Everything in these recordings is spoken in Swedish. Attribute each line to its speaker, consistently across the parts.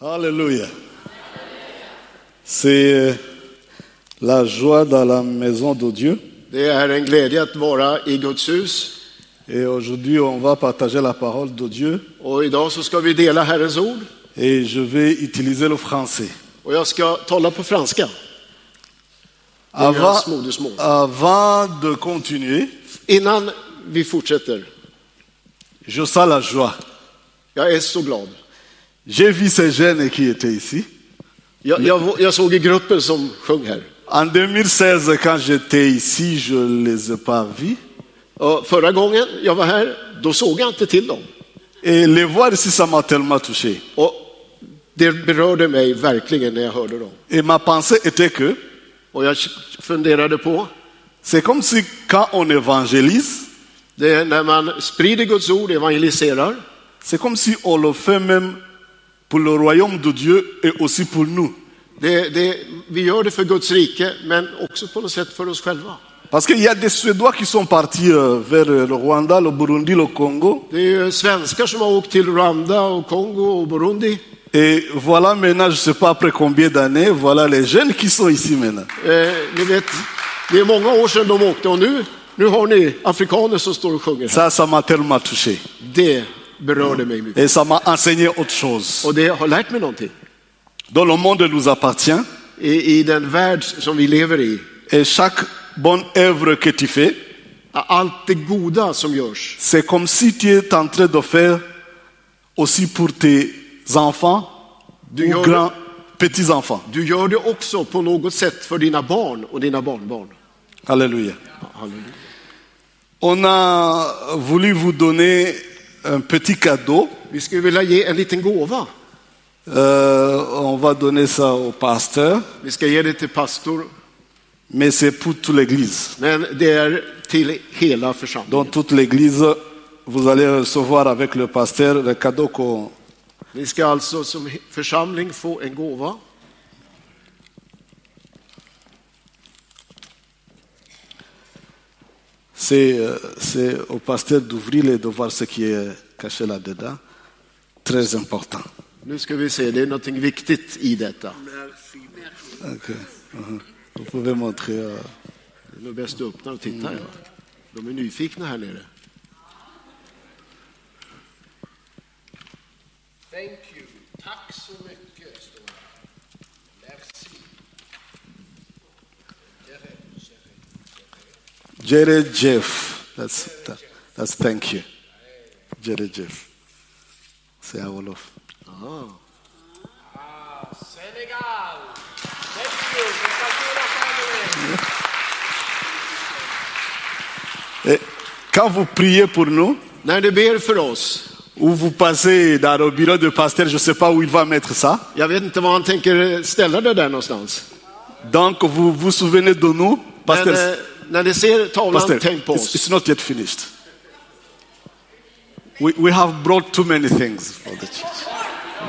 Speaker 1: Alléluia. C'est euh, la joie dans la maison de Dieu.
Speaker 2: Det är en glädje att vara i Guds hus.
Speaker 1: Et aujourd'hui, on va partager la parole de Dieu.
Speaker 2: Och idag så ska vi dela Herrens ord.
Speaker 1: Et je vais utiliser le français.
Speaker 2: Och jag ska tala på franska.
Speaker 1: Avant,
Speaker 2: grâce, mon Dieu, mon Dieu.
Speaker 1: avant de continuer,
Speaker 2: Innan vi fortsätter,
Speaker 1: je sens la joie.
Speaker 2: jag är så glad.
Speaker 1: J'ai vu ces jeunes qui étaient ici.
Speaker 2: Jag, jag, jag såg i gruppen som sjöng här.
Speaker 1: En 2016, quand j'étais ici, je ne les ai pas vus.
Speaker 2: Och förra gången jag var här, då såg jag inte till dem.
Speaker 1: Et les voir ici, ça m'a tellement touché.
Speaker 2: Och det berörde mig verkligen när jag hörde dem.
Speaker 1: Et ma pensée était que
Speaker 2: Och jag funderade på,
Speaker 1: c'est comme si quand on évangélise,
Speaker 2: det är när man sprider Guds ord, evangeliserar,
Speaker 1: C'est comme si on le fait même pour le royaume de Dieu et aussi pour nous.
Speaker 2: det, det, vi gör det för Guds rike, men också på något sätt för oss själva.
Speaker 1: Parce qu'il y a des Suédois qui sont partis euh, vers le Rwanda, le Burundi, le Congo.
Speaker 2: Det är ju svenskar som har åkt till Rwanda och Kongo och Burundi.
Speaker 1: Et voilà maintenant, je ne sais pas après combien d'années, voilà les jeunes qui sont ici maintenant.
Speaker 2: Eh, ni vet, det är många år sedan de åkte och nu, nu har ni afrikaner som står och sjunger. här.
Speaker 1: Ça, ça m'a tellement touché.
Speaker 2: Det berörde mig mycket.
Speaker 1: Et ça m'a enseigné autre chose.
Speaker 2: Och det har lärt mig någonting.
Speaker 1: Dans le monde nous appartient.
Speaker 2: I, I den värld som vi lever i,
Speaker 1: Et chaque bonne œuvre que tu fais,
Speaker 2: allt det goda som görs,
Speaker 1: c'est comme si tu es en train de faire aussi pour tes enfants,
Speaker 2: Du
Speaker 1: ou
Speaker 2: gör-
Speaker 1: grands, petits-enfants.
Speaker 2: du gör det också på något sätt för dina barn och dina barnbarn.
Speaker 1: Alléluia.
Speaker 2: Halleluja.
Speaker 1: On a voulu vous donner un petit cadeau.
Speaker 2: Vi skulle vilja ge en liten gåva.
Speaker 1: Euh, on va donner ça au pasteur,
Speaker 2: Vi ska ge det till pastor,
Speaker 1: mais c'est pour toute l'église.
Speaker 2: men det är till hela församlingen.
Speaker 1: Dans toute l'église, vous allez recevoir avec le pasteur le cadeau qu'on.
Speaker 2: Vi ska alltså som församling få en gåva.
Speaker 1: C'est, euh, c'est au pasteur d'ouvrir et de voir ce qui est caché là-dedans. Très important.
Speaker 2: Nu ska vi se, det är någonting viktigt i detta.
Speaker 1: Ok. Mhm. Vous pouvez montrer. euh.
Speaker 2: Det är nog bäst du öppnar och tittar. Ja. De är nyfikna här nere.
Speaker 3: Thank you. Tack så mycket, står det. Merci.
Speaker 1: Jerry Jeff. That's, that's thank you. Jerry Jeff. C'est à Wolof.
Speaker 3: Ah, Senegal. Thank you. Vi ska dela skärmen.
Speaker 1: Et quand vous priez pour nous,
Speaker 2: När du ber för oss,
Speaker 1: ou vous passez dans le bureau de pasteur, je ne sais pas où il va mettre ça.
Speaker 2: jag vet inte var han tänker ställa det där någonstans.
Speaker 1: Donc vous vous souvenez de nous,
Speaker 2: Men,
Speaker 1: pasteur.
Speaker 2: eh, när ni ser tavlan,
Speaker 1: pasteur,
Speaker 2: tänk på
Speaker 1: it's,
Speaker 2: oss.
Speaker 1: it's not yet finished. We, we have brought too many things for the church.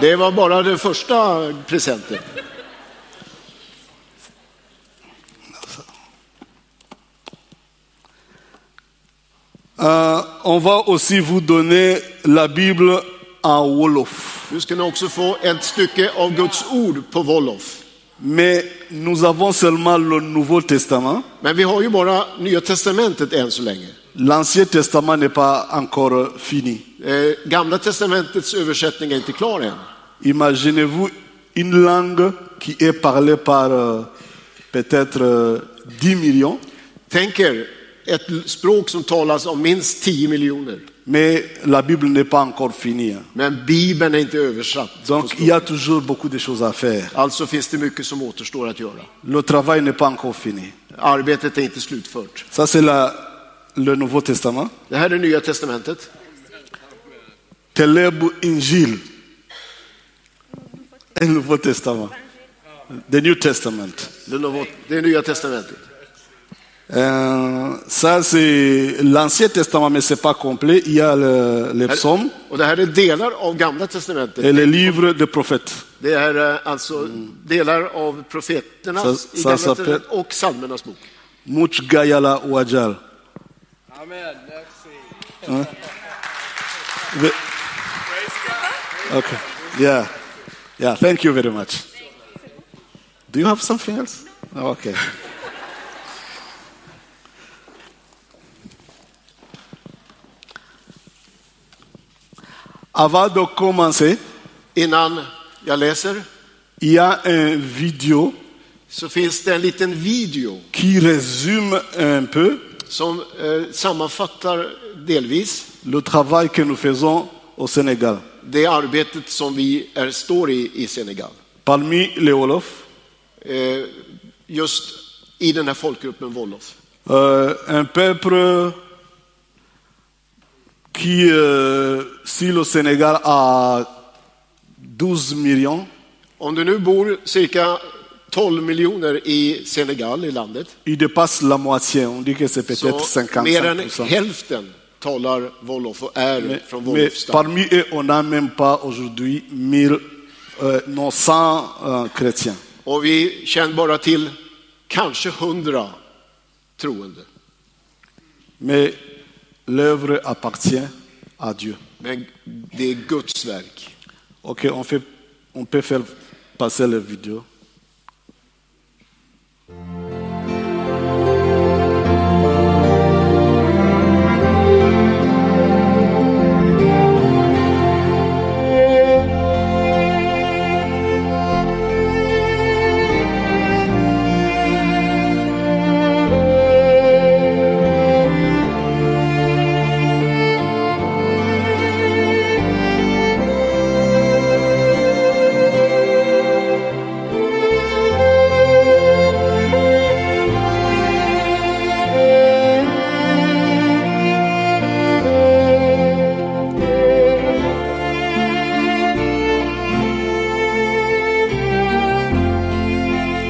Speaker 2: Det var bara den första presenten.
Speaker 1: Euh, on va aussi vous donner la Bible en Wolof.
Speaker 2: Du ska ni också få ett stycke av Guds ord på Wolof.
Speaker 1: Mais nous avons seulement le Nouveau Testament.
Speaker 2: Men vi har ju bara Nya Testamentet än så länge.
Speaker 1: L'Ancien Testament n'est pas encore fini.
Speaker 2: Eh, Gamla Testamentets översättning är inte klar än.
Speaker 1: Imaginez-vous une langue qui est parlée par euh, peut-être euh, 10 millions,
Speaker 2: Tänk er ett språk som talas av minst 10 miljoner.
Speaker 1: mais la Bible n'est pas encore finie. hein.
Speaker 2: Men Bibeln är inte översatt.
Speaker 1: Donc il y a toujours beaucoup de choses à faire.
Speaker 2: Alltså finns det mycket som återstår att göra.
Speaker 1: Le travail n'est pas encore fini.
Speaker 2: Arbetet är inte slutfört.
Speaker 1: Ça, c'est la- le Nouveau Testament.
Speaker 2: Det här är Nya Testamentet.
Speaker 1: Telebu Injil. Le Nouveau Testament. The New Testament.
Speaker 2: Det är Novo- Det är Nya Testamentet.
Speaker 1: Euh, ça, c'est l'Ancien Testament, mais c'est pas complet. Il y a le- les psaumes
Speaker 2: Och det här är delar av Gamla
Speaker 1: et
Speaker 2: Testamentet.
Speaker 1: les livres des prophètes.
Speaker 2: Det är eh, alltså delar av profeternas
Speaker 1: Så-
Speaker 2: i
Speaker 1: så
Speaker 2: Gamla
Speaker 1: alltså-
Speaker 2: Testamentet och psalmernas bok.
Speaker 1: Much Gayala Wajal. Hein?
Speaker 3: Amen. Merci.
Speaker 1: The- Okay. Yeah. Yeah, thank you very much. Do you have something else? Oh, okay. Avant de commencer,
Speaker 2: Innan jag läser
Speaker 1: il y a une vidéo
Speaker 2: så finns det en liten video
Speaker 1: qui résume un peu
Speaker 2: som eh, sammanfattar delvis
Speaker 1: le travail que nous faisons au Sénégal.
Speaker 2: det arbetet som vi är, står i i Senegal.
Speaker 1: Parmi les Wolofs,
Speaker 2: Eh, just i den här folkgruppen Wolof.
Speaker 1: Euh, un peuple qui, euh, si le Sénégal a 12 millions,
Speaker 2: Om du nu bor cirka 12 miljoner i Senegal, i landet,
Speaker 1: il dépasse la moitié. On dit que c'est peut-être
Speaker 2: så mer än
Speaker 1: 55%.
Speaker 2: hälften talar Wolof och är
Speaker 1: Mais,
Speaker 2: från
Speaker 1: mais
Speaker 2: Wolofstam.
Speaker 1: parmi eux, on n'a même pas aujourd'hui 1000, euh, non 100 euh, chrétiens.
Speaker 2: Och vi känner bara till kanske 100 troende.
Speaker 1: Mais l'œuvre appartient à Dieu.
Speaker 2: Men det är Guds verk.
Speaker 1: Ok, on, fait, on peut faire passer la vidéo.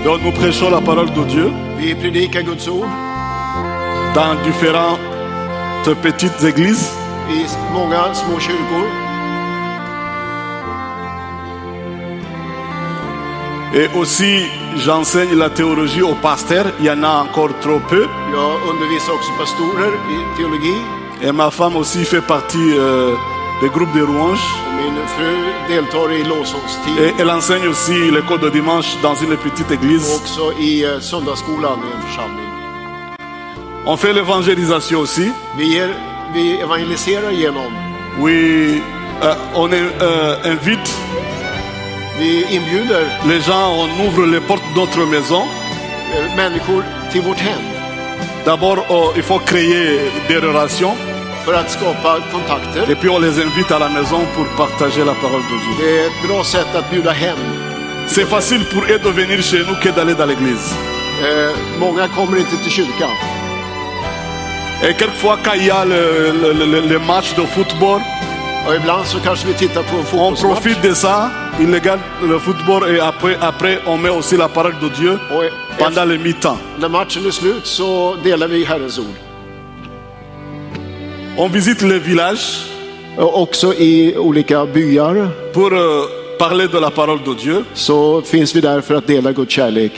Speaker 1: Donc nous prêchons la parole de Dieu.
Speaker 2: Vi predikar Guds ord
Speaker 1: dans différentes petites églises.
Speaker 2: i många små kyrkor.
Speaker 1: Et aussi, j'enseigne la théologie aux pasteurs. Il y en a encore trop peu.
Speaker 2: Jag undervisar också pastorer i teologi.
Speaker 1: Et ma femme aussi fait partie euh, des groupes de louanges.
Speaker 2: Min fru deltar i lovsångsteam
Speaker 1: Et elle enseigne aussi l'école de dimanche dans une petite
Speaker 2: och
Speaker 1: église.
Speaker 2: också i eh, söndagsskolan i en församling.
Speaker 1: On fait l'évangélisation aussi.
Speaker 2: Vi, ger, vi evangeliserar genom,
Speaker 1: Oui, euh, on est, euh, invite
Speaker 2: vi inbjuder
Speaker 1: les gens, on ouvre les portes de notre maison.
Speaker 2: eh, människor till vårt hem
Speaker 1: D'abord, oh, il faut créer des relations.
Speaker 2: för att skapa kontakter.
Speaker 1: Et puis, on les invite à la maison pour partager la parole de Dieu.
Speaker 2: Det är ett bra sätt att bjuda hem.
Speaker 1: C'est facile pour eux de venir chez nous que d'aller dans l'église.
Speaker 2: Eh, många kommer inte till kyrkan.
Speaker 1: Et quelquefois, quand il y a le, le- le- le match de football,
Speaker 2: Och ibland så kanske vi tittar på en
Speaker 1: on
Speaker 2: fotbollsmatch.
Speaker 1: profite de ça, ils regardent le football et après, après on met aussi la parole de Dieu
Speaker 2: Och e-
Speaker 1: pendant le mi-temps.
Speaker 2: efter- när matchen är slut så delar vi Herrens ord.
Speaker 1: On visite les villages
Speaker 2: Och också i olika byar
Speaker 1: pour euh, parler de la parole de Dieu.
Speaker 2: så finns vi där för att dela Guds kärlek.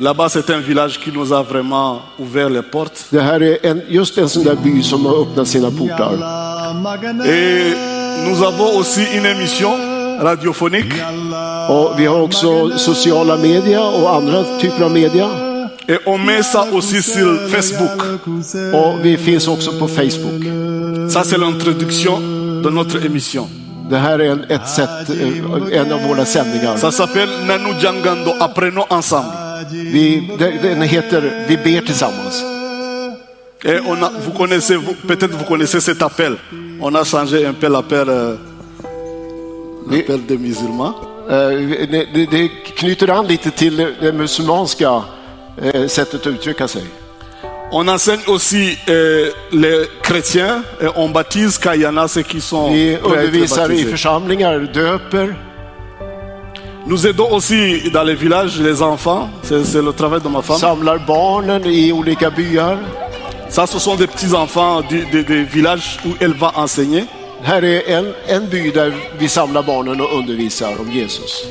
Speaker 1: Là-bas, c'est un village qui nous a vraiment ouvert les portes.
Speaker 2: Det här är en, just en sån där by som har öppnat sina portar.
Speaker 1: Et nous avons aussi une émission radiophonique
Speaker 2: Och vi har också sociala media och andra typer av media.
Speaker 1: et on met ça aussi sur Facebook.
Speaker 2: Och vi finns också på Facebook.
Speaker 1: Ça, c'est l'introduction de notre émission.
Speaker 2: Det här är en, ett sätt, eh, en av våra sändningar.
Speaker 1: Ça s'appelle Nanu Djangando, apprenons ensemble.
Speaker 2: Vi, det- den heter Vi ber tillsammans.
Speaker 1: Et on a, vous connaissez, vous- peut-être vous connaissez cet appel. On a changé un peu l'appel, euh, l'appel des musulmans.
Speaker 2: Eh, Det, det, det knyter an lite till det muslimska eh, sättet att uttrycka sig.
Speaker 1: On enseigne aussi euh, les chrétiens et on baptise quand il y en a ceux qui sont prêts à
Speaker 2: Vi
Speaker 1: être
Speaker 2: undervisar i
Speaker 1: baptisés.
Speaker 2: församlingar, döper.
Speaker 1: Nous aidons aussi dans les villages les enfants. C'est, c'est le travail de ma femme. Ça,
Speaker 2: Samlar barnen i olika byar.
Speaker 1: ce sont des petits enfants du- des- des villages où elle va enseigner.
Speaker 2: Här är en, en by där vi samlar barnen och undervisar om Jesus.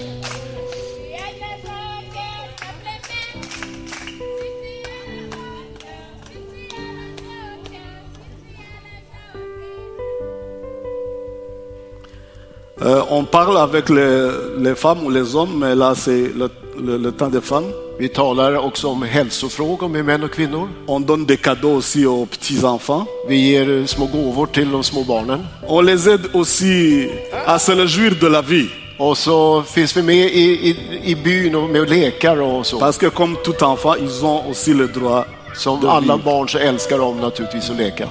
Speaker 1: Euh, on parle avec les, les femmes ou les hommes, mais là c'est le, le- le temps des femmes.
Speaker 2: Vi talar också om hälsofrågor med män och kvinnor.
Speaker 1: On donne des cadeaux aussi aux petits-enfants.
Speaker 2: Vi ger eh, små gåvor till de små barnen.
Speaker 1: On les aide aussi à se réjouir de la vie.
Speaker 2: Och så finns vi med i, i, i byn och med lekar och så.
Speaker 1: Parce que comme tout enfant, ils ont aussi le droit
Speaker 2: Som
Speaker 1: de
Speaker 2: alla
Speaker 1: vivre.
Speaker 2: barn så älskar de naturligtvis att leka.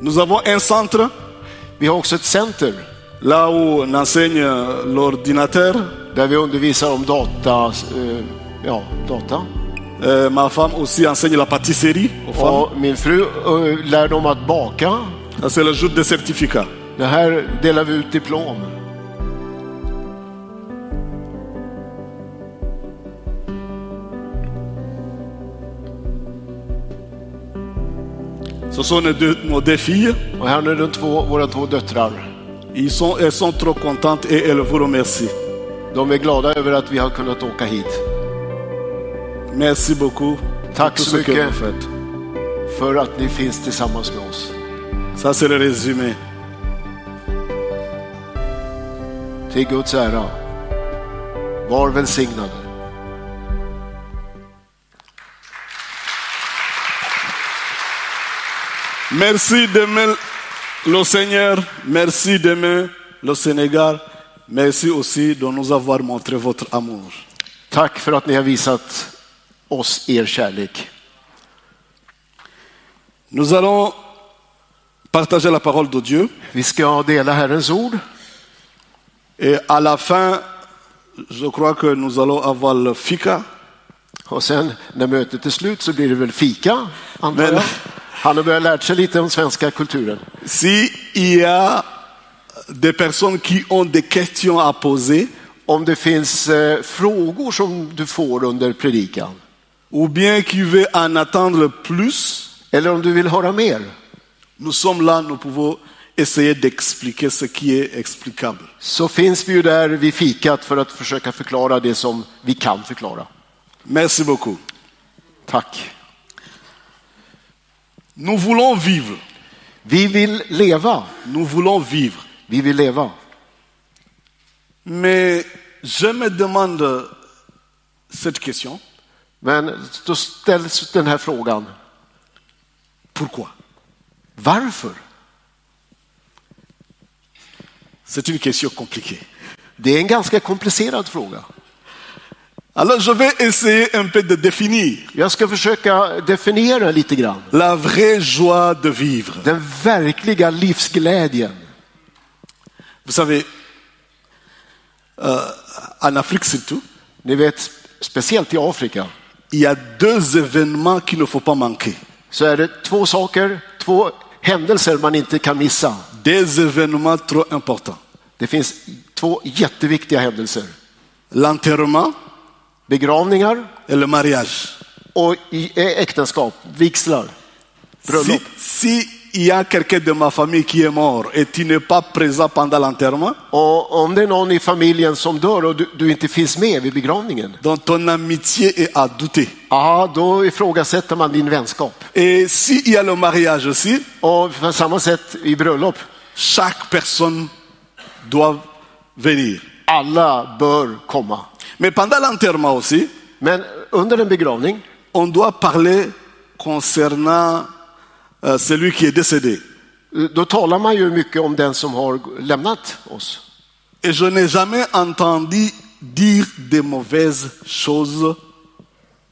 Speaker 1: Nous avons un centre
Speaker 2: Vi har också ett center
Speaker 1: là où on enseigne euh, l'ordinateur.
Speaker 2: där vi undervisar om data. eh, Ja, data.
Speaker 1: Euh, ma femme aussi enseigne la pâtisserie aux femmes.
Speaker 2: Och min fru eh, lär dem att baka.
Speaker 1: Ça, C'est le jour des certificats.
Speaker 2: Det här delar vi ut diplom.
Speaker 1: Ce sont nos deux, nos deux filles.
Speaker 2: Och här är de två, våra två döttrar.
Speaker 1: Ils sont, elles sont trop contentes et elles vous remercient.
Speaker 2: De är glada över att vi har kunnat åka hit.
Speaker 1: Merci beaucoup
Speaker 2: Tack
Speaker 1: pour
Speaker 2: så
Speaker 1: tout ce que
Speaker 2: mycket
Speaker 1: vous faites.
Speaker 2: för att ni finns tillsammans med oss.
Speaker 1: Ça, c'est le résumé.
Speaker 2: Till Guds ära. Var välsignade.
Speaker 1: Merci d'aimer le Seigneur. Merci d'aimer le Sénégal. Merci aussi de nous avoir montré votre amour.
Speaker 2: Tack för att ni har visat oss er kärlek.
Speaker 1: Nous allons partager la parole de Dieu.
Speaker 2: Vi ska dela Herrens ord
Speaker 1: Et à la fin, je crois que nous allons avoir le fika.
Speaker 2: och sen när mötet är slut så blir det väl fika, antar
Speaker 1: Men-
Speaker 2: jag. Han har börjat lärt sig lite om svenska kulturen.
Speaker 1: S'il y a des personnes qui ont des questions à poser,
Speaker 2: Om det finns eh, frågor som du får under predikan
Speaker 1: ou bien qui veulent en attendre plus,
Speaker 2: eller om du vill höra mer
Speaker 1: nous sommes là, nous pouvons essayer d'expliquer ce qui est explicable.
Speaker 2: så finns vi ju där vid fikat för att försöka förklara det som vi kan förklara.
Speaker 1: Merci beaucoup.
Speaker 2: Tack.
Speaker 1: Nous voulons vivre.
Speaker 2: Vi vill leva.
Speaker 1: Nous voulons vivre.
Speaker 2: Vi vill leva.
Speaker 1: Mais je me demande cette question.
Speaker 2: Men då ställs den här frågan.
Speaker 1: Pourquoi
Speaker 2: Varför?
Speaker 1: C'est une question compliquée.
Speaker 2: Det är en ganska komplicerad fråga.
Speaker 1: Alors je vais essayer un peu de définir
Speaker 2: Jag ska försöka definiera lite grann.
Speaker 1: la vraie joie de vivre.
Speaker 2: Den verkliga livsglädjen.
Speaker 1: Vous savez, euh, en Afrique surtout,
Speaker 2: Ni vet, speciellt i Afrika,
Speaker 1: il y a deux événements qu'il ne faut pas manquer.
Speaker 2: så är det två saker, två händelser man inte kan missa.
Speaker 1: Des événements trop importants.
Speaker 2: Det finns två jätteviktiga händelser.
Speaker 1: L'enterrement
Speaker 2: Begravningar
Speaker 1: et le mariage.
Speaker 2: och i- eh, äktenskap, vigslar.
Speaker 1: Si,
Speaker 2: Bröllop.
Speaker 1: si il y a quelqu'un de ma famille qui est mort et tu n'es pas présent pendant l'enterrement,
Speaker 2: Och om det är någon i familjen som dör och du, du inte finns med vid begravningen,
Speaker 1: donc ton amitié est à douter.
Speaker 2: aha, då ifrågasätter man din vänskap.
Speaker 1: Et s'il y a le mariage aussi,
Speaker 2: Och på samma sätt i bröllop,
Speaker 1: chaque personne doit venir.
Speaker 2: alla bör komma.
Speaker 1: Mais pendant l'enterrement aussi,
Speaker 2: Men under en begravning
Speaker 1: on doit parler concernant euh, celui qui est décédé.
Speaker 2: då talar man ju mycket om den som har lämnat oss.
Speaker 1: Et je n'ai jamais entendu dire des mauvaises choses.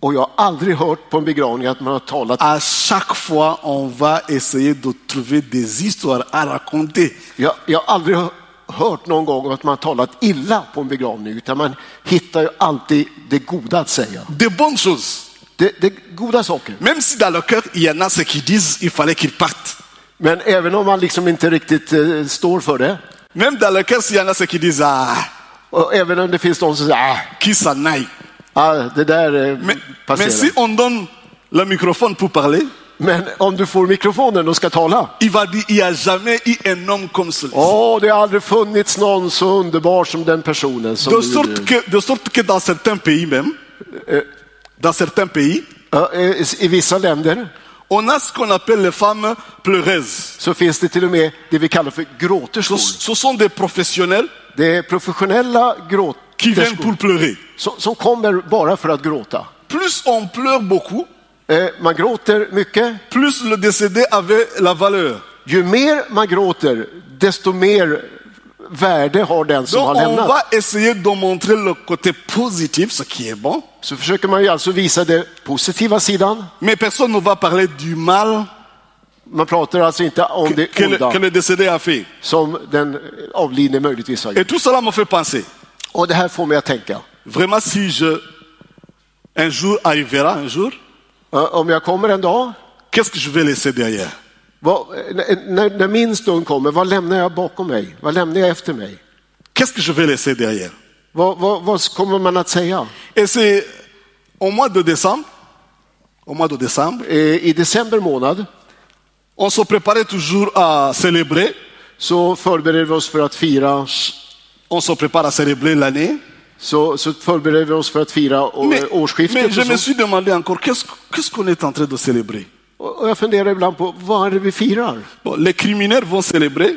Speaker 2: Och jag har aldrig hört på en begravning att man har talat.
Speaker 1: À chaque fois, on va essayer de trouver des histoires à raconter.
Speaker 2: Jag, jag har aldrig hö- hört någon gång att man har talat illa på en begravning, utan man hittar ju alltid det goda att säga.
Speaker 1: Des bonnes choses.
Speaker 2: Det, det goda saker.
Speaker 1: Même si dans le cœur, il y en a ceux qui disent il fallait qu'ils partent.
Speaker 2: Men även om man liksom inte riktigt eh, står för det,
Speaker 1: Même dans le cœur, il y en a ceux qui disent ah,
Speaker 2: och även om det finns någon som säger ah,
Speaker 1: qu'ils s'en aillent.
Speaker 2: ah, det där eh,
Speaker 1: Mais, mais
Speaker 2: passerar.
Speaker 1: si on donne le microphone pour parler,
Speaker 2: Men om du får mikrofonen och ska tala,
Speaker 1: il va dire il n'y a jamais eu un homme comme celui
Speaker 2: Åh, det har aldrig funnits någon så underbar som den personen. Som
Speaker 1: De
Speaker 2: du
Speaker 1: sorte,
Speaker 2: gjorde.
Speaker 1: que, de sorte que dans euh, certains pays même, dans certains pays,
Speaker 2: Ja, eh, I vissa länder,
Speaker 1: On a ce qu'on appelle les femmes pleureuses.
Speaker 2: så finns det till och med det vi kallar för
Speaker 1: Ce,
Speaker 2: gråterskor.
Speaker 1: ce sont des professionnels
Speaker 2: Det är professionella
Speaker 1: qui viennent
Speaker 2: gråterskor
Speaker 1: pour pleurer.
Speaker 2: som, som kommer bara för att gråta.
Speaker 1: Plus on pleure beaucoup,
Speaker 2: Eh, Man gråter mycket.
Speaker 1: plus le décédé avait la valeur.
Speaker 2: Ju mer man gråter, desto mer värde har den som
Speaker 1: Donc
Speaker 2: har
Speaker 1: on
Speaker 2: lämnat.
Speaker 1: va essayer de montrer le côté positif, ce qui est bon,
Speaker 2: Så försöker man ju alltså visa den positiva sidan.
Speaker 1: mais personne ne va parler du mal
Speaker 2: Man pratar alltså inte om det
Speaker 1: que le, que
Speaker 2: onda
Speaker 1: le décédé a fait.
Speaker 2: som den avlidne möjligtvis har
Speaker 1: Et
Speaker 2: gjort.
Speaker 1: tout cela me fait penser,
Speaker 2: Och det här får mig att tänka.
Speaker 1: vraiment si je, un jour arrivera, un jour,
Speaker 2: Ö, Om jag kommer en dag,
Speaker 1: qu'est-ce que je vais laisser derrière
Speaker 2: vad, n- när, när min stund kommer, vad lämnar jag bakom mig? Vad lämnar jag efter mig?
Speaker 1: Qu'est-ce que je vais laisser derrière
Speaker 2: Vad, vad, vad kommer man att säga?
Speaker 1: Et c'est au mois de décembre, au mois de décembre,
Speaker 2: Eh, I december månad
Speaker 1: on se préparait toujours à célébrer,
Speaker 2: så förbereder vi oss för att fira
Speaker 1: on se prépare à célébrer l'année.
Speaker 2: så, så förbereder vi oss för att fira å-
Speaker 1: Mais,
Speaker 2: årsskiftet.
Speaker 1: mais je
Speaker 2: och så.
Speaker 1: me suis demandé encore, qu'est-ce qu'est-ce qu'on est en train de célébrer
Speaker 2: Och och jag funderar ibland på vad är det vi firar?
Speaker 1: Bon, les criminels vont célébrer.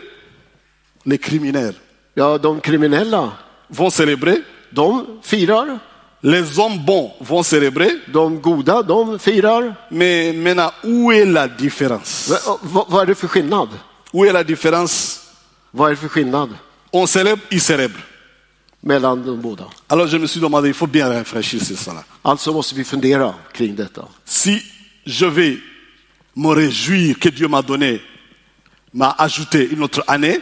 Speaker 1: Les criminels
Speaker 2: Ja, de kriminella,
Speaker 1: vont célébrer.
Speaker 2: de firar.
Speaker 1: Les hommes bons vont célébrer.
Speaker 2: De goda, de firar.
Speaker 1: Mais maintenant, où est la différence
Speaker 2: Va- va- vad är det för skillnad?
Speaker 1: Où est la différence
Speaker 2: Vad är det för skillnad
Speaker 1: On célèbre, ils célèbrent.
Speaker 2: mellan de båda?
Speaker 1: Alors je me suis demandé, il faut bien réfléchir sur cela.
Speaker 2: Alltså måste vi fundera kring detta.
Speaker 1: Si je vais me réjouir que Dieu m'a donné, m'a ajouté une autre année,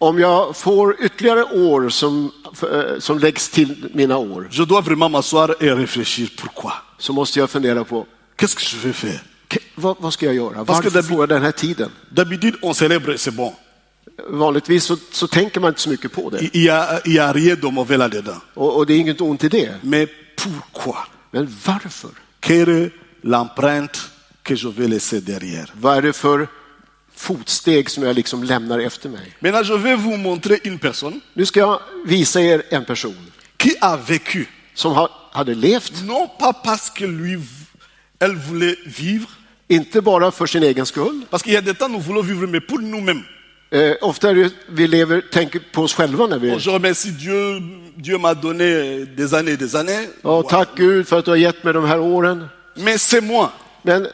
Speaker 2: Om jag får ytterligare år som, eh, som läggs till mina år
Speaker 1: je dois vraiment m'asseoir et réfléchir pourquoi.
Speaker 2: så måste jag fundera på
Speaker 1: Qu'est-ce que je vais faire
Speaker 2: K- Vad, vad ska jag göra?
Speaker 1: Vad ska
Speaker 2: Varför
Speaker 1: det bli?
Speaker 2: får jag den här tiden?
Speaker 1: D'habitude, on célèbre, c'est bon.
Speaker 2: Vanligtvis så, så tänker man inte så mycket på det.
Speaker 1: Il n'y a, il y a rien de mauvais là-dedans.
Speaker 2: Och, och det är inget ont i det.
Speaker 1: Mais pourquoi
Speaker 2: Men varför?
Speaker 1: Quelle est l'empreinte que je vais laisser derrière
Speaker 2: Vad är det för fotsteg som jag liksom lämnar efter mig?
Speaker 1: Maintenant, je vais vous montrer une personne
Speaker 2: Nu ska jag visa er en person
Speaker 1: qui a vécu,
Speaker 2: som har, hade levt,
Speaker 1: non pas parce que lui, elle voulait vivre,
Speaker 2: inte bara för sin egen skull.
Speaker 1: parce qu'il y a des temps nous voulons vivre, mais pour nous-mêmes.
Speaker 2: Eh, ofta är det, vi lever, tänker på oss själva när vi...
Speaker 1: Je remercie Dieu, Dieu m'a donné des années et des années,
Speaker 2: Ja, tack Gud för att du har gett mig de här åren.
Speaker 1: mais c'est moi.
Speaker 2: Men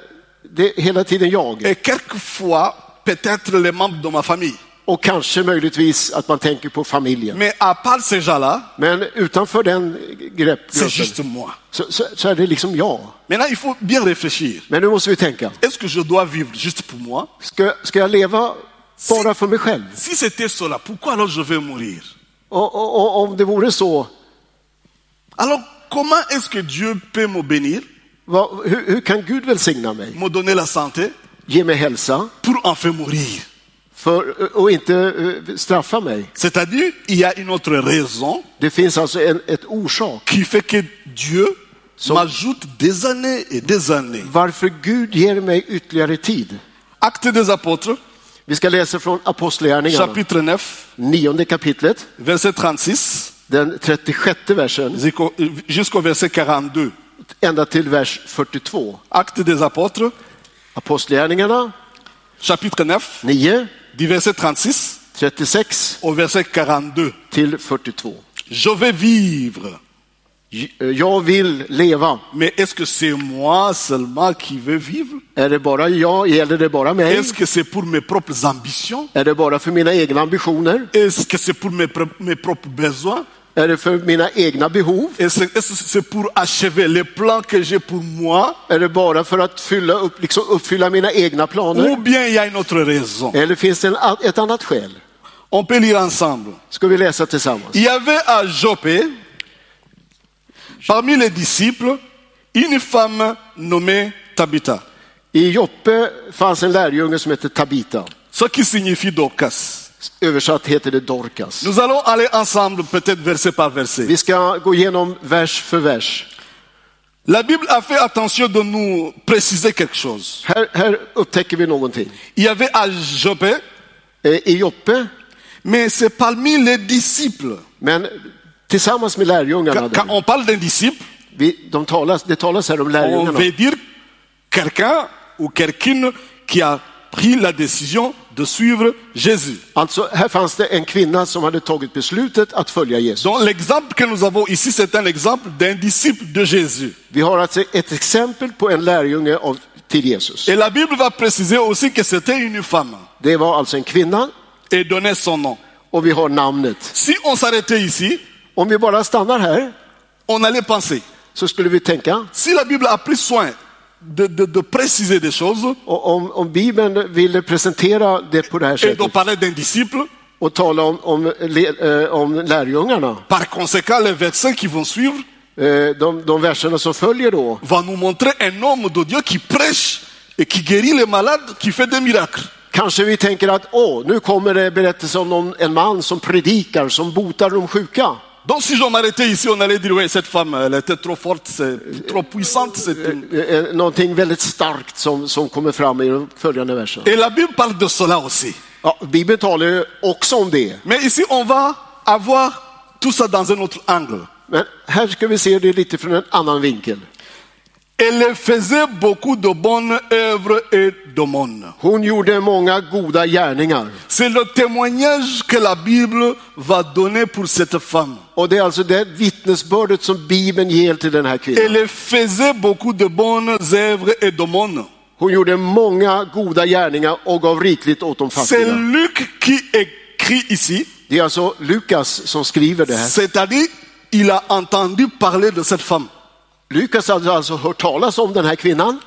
Speaker 2: det är hela tiden jag.
Speaker 1: Et quelquefois, peut-être les membres de ma famille.
Speaker 2: Och kanske möjligtvis att man tänker på familjen.
Speaker 1: Mais à part ces gens-là,
Speaker 2: Men utanför den
Speaker 1: c'est
Speaker 2: greppgruppen
Speaker 1: juste moi.
Speaker 2: så, så, så är det liksom jag.
Speaker 1: Maintenant, il faut bien réfléchir.
Speaker 2: Men nu måste vi tänka.
Speaker 1: Est-ce que je dois vivre juste pour moi
Speaker 2: Ska, ska jag leva bara för mig själv?
Speaker 1: Si c'était cela, pourquoi alors je vais mourir
Speaker 2: Och, och, och om det vore så,
Speaker 1: Alors, comment est-ce que Dieu peut me bénir,
Speaker 2: vad, hur, hur kan Gud välsigna mig?
Speaker 1: me donner la santé
Speaker 2: Ge mig hälsa
Speaker 1: pour enfin mourir
Speaker 2: för, och inte eh, straffa mig.
Speaker 1: C'est-à-dire, il y a une autre raison
Speaker 2: Det finns alltså en ett orsak
Speaker 1: qui fait que Dieu m'ajoute des années et des années.
Speaker 2: varför Gud ger mig ytterligare tid.
Speaker 1: Acte des Apôtres,
Speaker 2: Vi ska läsa från Apostlagärningarna,
Speaker 1: chapitre 9,
Speaker 2: nionde kapitlet,
Speaker 1: verset 36
Speaker 2: den 36 versen,
Speaker 1: jusqu'au- jusqu'au verset 42.
Speaker 2: ända till vers 42.
Speaker 1: Acte des Apôtres,
Speaker 2: Apostlagärningarna
Speaker 1: chapitre 9,
Speaker 2: 9,
Speaker 1: du verset 36
Speaker 2: 36
Speaker 1: au verset 42.
Speaker 2: till 42.
Speaker 1: Je vais vivre
Speaker 2: J- eh, Jag vill leva.
Speaker 1: Mais est-ce que c'est moi seulement qui veux vivre
Speaker 2: Är det bara jag? Gäller det bara mig?
Speaker 1: Est-ce que c'est pour mes propres ambitions
Speaker 2: Är det bara för mina egna ambitioner?
Speaker 1: Est-ce que c'est pour mes, pr- mes propres besoins
Speaker 2: Är det för mina egna behov?
Speaker 1: Est-ce est-ce que c'est pour achever les plans que j'ai pour moi
Speaker 2: Är det bara för att fylla upp, liksom uppfylla mina egna
Speaker 1: Ou
Speaker 2: planer?
Speaker 1: bien il y a une autre raison
Speaker 2: Eller finns det en, a- ett annat skäl?
Speaker 1: On peut lire ensemble.
Speaker 2: Ska vi läsa tillsammans?
Speaker 1: Il y avait à Jopé, parmi les disciples, une femme nommée Tabitha,
Speaker 2: I Joppe fanns en lärjunge som hette Tabita.
Speaker 1: ce qui signifie Dorcas.
Speaker 2: Översatt heter det Dorcas.
Speaker 1: Nous allons aller ensemble, peut-être verset par verset.
Speaker 2: Vi ska gå igenom vers för vers.
Speaker 1: La Bible a fait attention de nous préciser quelque chose.
Speaker 2: Här, här upptäcker vi någonting.
Speaker 1: Il y avait à Jopé,
Speaker 2: Eh, I Joppe,
Speaker 1: mais c'est parmi les disciples.
Speaker 2: men tillsammans med
Speaker 1: Quand,
Speaker 2: lärjungarna,
Speaker 1: quand
Speaker 2: där,
Speaker 1: on parle d'un disciple,
Speaker 2: vi, de talas, det talas här om
Speaker 1: on
Speaker 2: lärjungarna.
Speaker 1: veut dire quelqu'un ou quelqu'un qui a pris la décision de suivre Jésus.
Speaker 2: Alltså, här fanns det en kvinna som hade tagit beslutet att följa Jesus.
Speaker 1: Donc l'exemple que nous avons ici, c'est un exemple d'un disciple de Jésus.
Speaker 2: Vi har alltså ett exempel på en lärjunge av, till Jesus.
Speaker 1: Et la Bible va préciser aussi que c'était une femme
Speaker 2: Det var alltså en kvinna
Speaker 1: et donner son nom.
Speaker 2: och vi har namnet.
Speaker 1: Si on s'arrêtait ici,
Speaker 2: Om vi bara stannar här
Speaker 1: on allait penser.
Speaker 2: så skulle vi tänka,
Speaker 1: Si la Bible a pris soin de, de- de préciser des choses
Speaker 2: och om, om Bibeln ville presentera det på det här
Speaker 1: et de
Speaker 2: sättet
Speaker 1: parler d'un disciple,
Speaker 2: och tala om, om, le- eh, om lärjungarna,
Speaker 1: par conséquent, les versets qui vont suivre
Speaker 2: eh, de, de verserna som följer då,
Speaker 1: vont nous montrer un homme de Dieu qui prêche et qui guérit les malades, qui fait des miracles.
Speaker 2: Kanske vi tänker att åh, nu kommer det berättelse om någon, en man som predikar, som botar de sjuka.
Speaker 1: Donc si je m'arrêtais ici, on allait dire, ouais, cette femme, elle était trop forte, c'est trop puissante. c'est une-
Speaker 2: Eh, eh, Någonting väldigt starkt som, som kommer fram i de följande verserna.
Speaker 1: Et la Bible parle de cela aussi.
Speaker 2: Ja, Bibeln talar ju också om det,
Speaker 1: Mais ici, on va avoir tout ça dans un autre angle.
Speaker 2: men här ska vi se det lite från en annan vinkel.
Speaker 1: Elle faisait beaucoup de bonnes œuvres et d'aumônes.
Speaker 2: Hon gjorde många goda gärningar
Speaker 1: C'est le témoignage que la Bible va donner pour cette femme.
Speaker 2: och det är alltså det vittnesbördet som Bibeln ger till den här kvinnan.
Speaker 1: Elle faisait beaucoup de bonnes œuvres et d'aumônes.
Speaker 2: Hon gjorde många goda gärningar och gav rikligt åt de
Speaker 1: C'est
Speaker 2: fattiga.
Speaker 1: Luc qui écrit ici,
Speaker 2: Det är alltså Lukas som skriver det här.
Speaker 1: c'est-à-dire il a entendu parler de cette femme.
Speaker 2: Lukas hade alltså hört talas om den här kvinnan.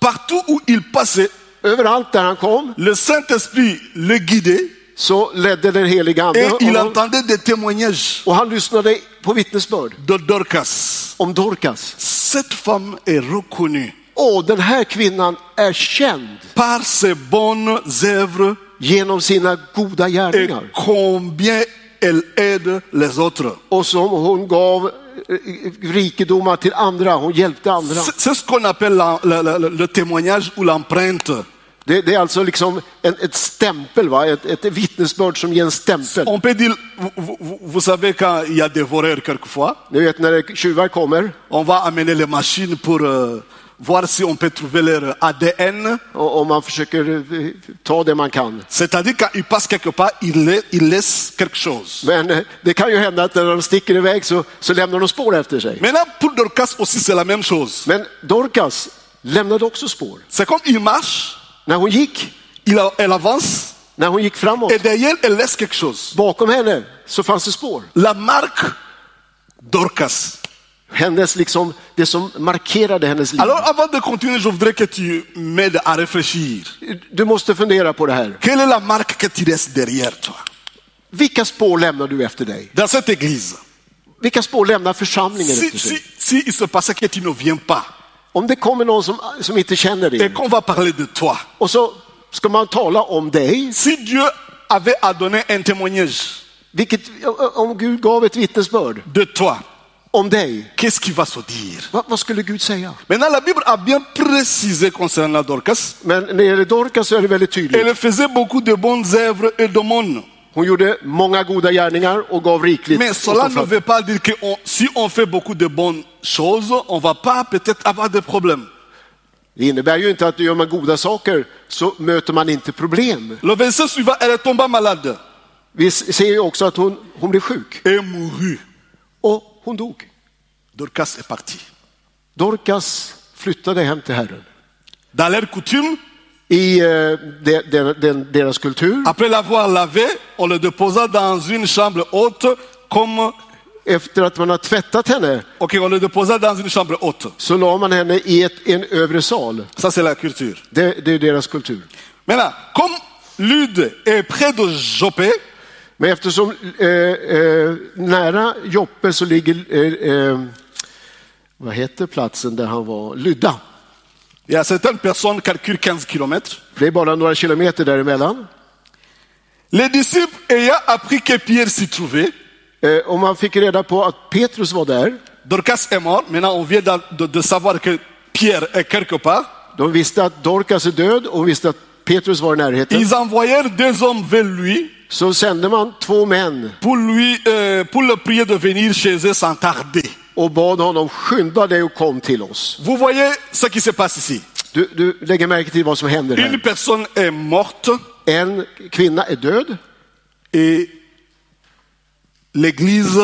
Speaker 1: Partout où il passait,
Speaker 2: Överallt där han kom
Speaker 1: le Saint-Esprit le guidait
Speaker 2: så ledde den heliga
Speaker 1: et
Speaker 2: ande
Speaker 1: il
Speaker 2: honom.
Speaker 1: entendait des témoignages
Speaker 2: Och han lyssnade på vittnesbörd
Speaker 1: de Dorcas.
Speaker 2: om Dorcas.
Speaker 1: Cette femme est reconnue
Speaker 2: Åh, den här kvinnan är känd
Speaker 1: par ses bonnes œuvres
Speaker 2: genom sina goda
Speaker 1: et
Speaker 2: gärningar.
Speaker 1: combien elle aide les autres.
Speaker 2: Och som hon gav eh, eh, rikedomar till andra, hon hjälpte andra.
Speaker 1: C'est c'est ce qu'on appelle la- la- la- le témoignage ou l'empreinte.
Speaker 2: Det, det är alltså liksom en, ett stämpel, va? Ett, ett vittnesbörd som ger en stämpel.
Speaker 1: On peut dire, vous, vous- vous- vous savez, quand il y a des voleurs quelquefois,
Speaker 2: Ni vet när det- tjuvar kommer
Speaker 1: on va amener les machines pour euh, voir si on peut trouver leur ADN.
Speaker 2: och, och man försöker eh, ta det man kan.
Speaker 1: C'est-à-dire quand ils passent quelque part, ils, la- ils laissent quelque chose.
Speaker 2: Men eh, det kan ju hända att när de sticker iväg så, så lämnar de spår efter sig.
Speaker 1: Maintenant, pour Dorcas aussi, c'est la même chose.
Speaker 2: Men Dorcas lämnade också spår.
Speaker 1: C'est comme il marche,
Speaker 2: När hon gick,
Speaker 1: il a- elle avance,
Speaker 2: när hon gick framåt,
Speaker 1: et derrière, elle laisse quelque chose.
Speaker 2: bakom henne så fanns det spår.
Speaker 1: La marque Dorcas.
Speaker 2: Hennes liksom, det som markerade hennes liv.
Speaker 1: Alors, avant de continuer, je voudrais que tu m'aides à réfléchir.
Speaker 2: Du måste fundera på det här.
Speaker 1: Quelle est la marque que tu laisses derrière toi
Speaker 2: Vilka spår lämnar du efter dig?
Speaker 1: dans cette église
Speaker 2: Vilka spår lämnar församlingen
Speaker 1: Si,
Speaker 2: efter sig?
Speaker 1: si- si il se passait que tu ne viens pas
Speaker 2: Om det kommer någon som, som inte känner
Speaker 1: et
Speaker 2: dig
Speaker 1: qu'on va parler de toi,
Speaker 2: och så ska man tala om dig,
Speaker 1: si Dieu avait à donner un témoignage
Speaker 2: vilket, om Gud gav ett vittnesbörd
Speaker 1: de toi,
Speaker 2: om dig,
Speaker 1: qu'est-ce qui va se dire
Speaker 2: vad, vad skulle Gud säga?
Speaker 1: Maintenant, la Bible a bien précisé concernant Dorcas.
Speaker 2: Men när det gäller Dorcas så är det väldigt tydligt.
Speaker 1: Elle faisait beaucoup de bonnes œuvres et d'aumônes.
Speaker 2: Hon gjorde många goda gärningar och gav rikligt.
Speaker 1: Mais
Speaker 2: åt
Speaker 1: cela
Speaker 2: de
Speaker 1: ne
Speaker 2: fattiga.
Speaker 1: veut pas dire que on- si on fait beaucoup de bonnes choses, on va pas peut-être avoir des problèmes.
Speaker 2: Det innebär ju inte att gör man goda saker så möter man inte problem.
Speaker 1: Le verset suivant, elle tomba malade
Speaker 2: Vi ser ju också att hon, hon blev sjuk
Speaker 1: et mourut.
Speaker 2: och hon dog.
Speaker 1: Dorcas est partie.
Speaker 2: Dorcas flyttade hem till Herren.
Speaker 1: Dans leur coutume,
Speaker 2: I eh, de, de, de, deras kultur,
Speaker 1: Après l'avoir lavé, on le déposa dans une chambre haute, comme.
Speaker 2: efter att man har tvättat henne,
Speaker 1: Ok, on le déposa dans une chambre haute.
Speaker 2: så la man henne i ett, en övre sal.
Speaker 1: Ça, c'est la culture.
Speaker 2: Det, det är deras kultur.
Speaker 1: Maintenant, comme Lude est près de Jopé,
Speaker 2: Men eftersom eh, eh, nära Joppe så ligger, eh, eh, vad heter platsen där han var? Lydda.
Speaker 1: il y a certaines personnes calculent 15 km.
Speaker 2: Det är bara några kilometer däremellan.
Speaker 1: Les disciples ayant appris que Pierre s'y trouvait,
Speaker 2: Eh, och man fick reda på att Petrus var där.
Speaker 1: Dorcas est mort. Maintenant, on vient de, de- de savoir que Pierre est quelque part.
Speaker 2: De visste att Dorcas är död och visste att Petrus var i närheten.
Speaker 1: Ils envoyèrent deux hommes vers lui
Speaker 2: Så sände man två män
Speaker 1: pour, lui, euh, pour le prier de venir chez eux sans tarder.
Speaker 2: och bad honom skynda dig och kom till oss.
Speaker 1: Vous voyez ce qui se passe ici.
Speaker 2: Du Du, du lägger märke till vad som händer
Speaker 1: Une
Speaker 2: här.
Speaker 1: personne est morte
Speaker 2: En kvinna är död
Speaker 1: et l'Église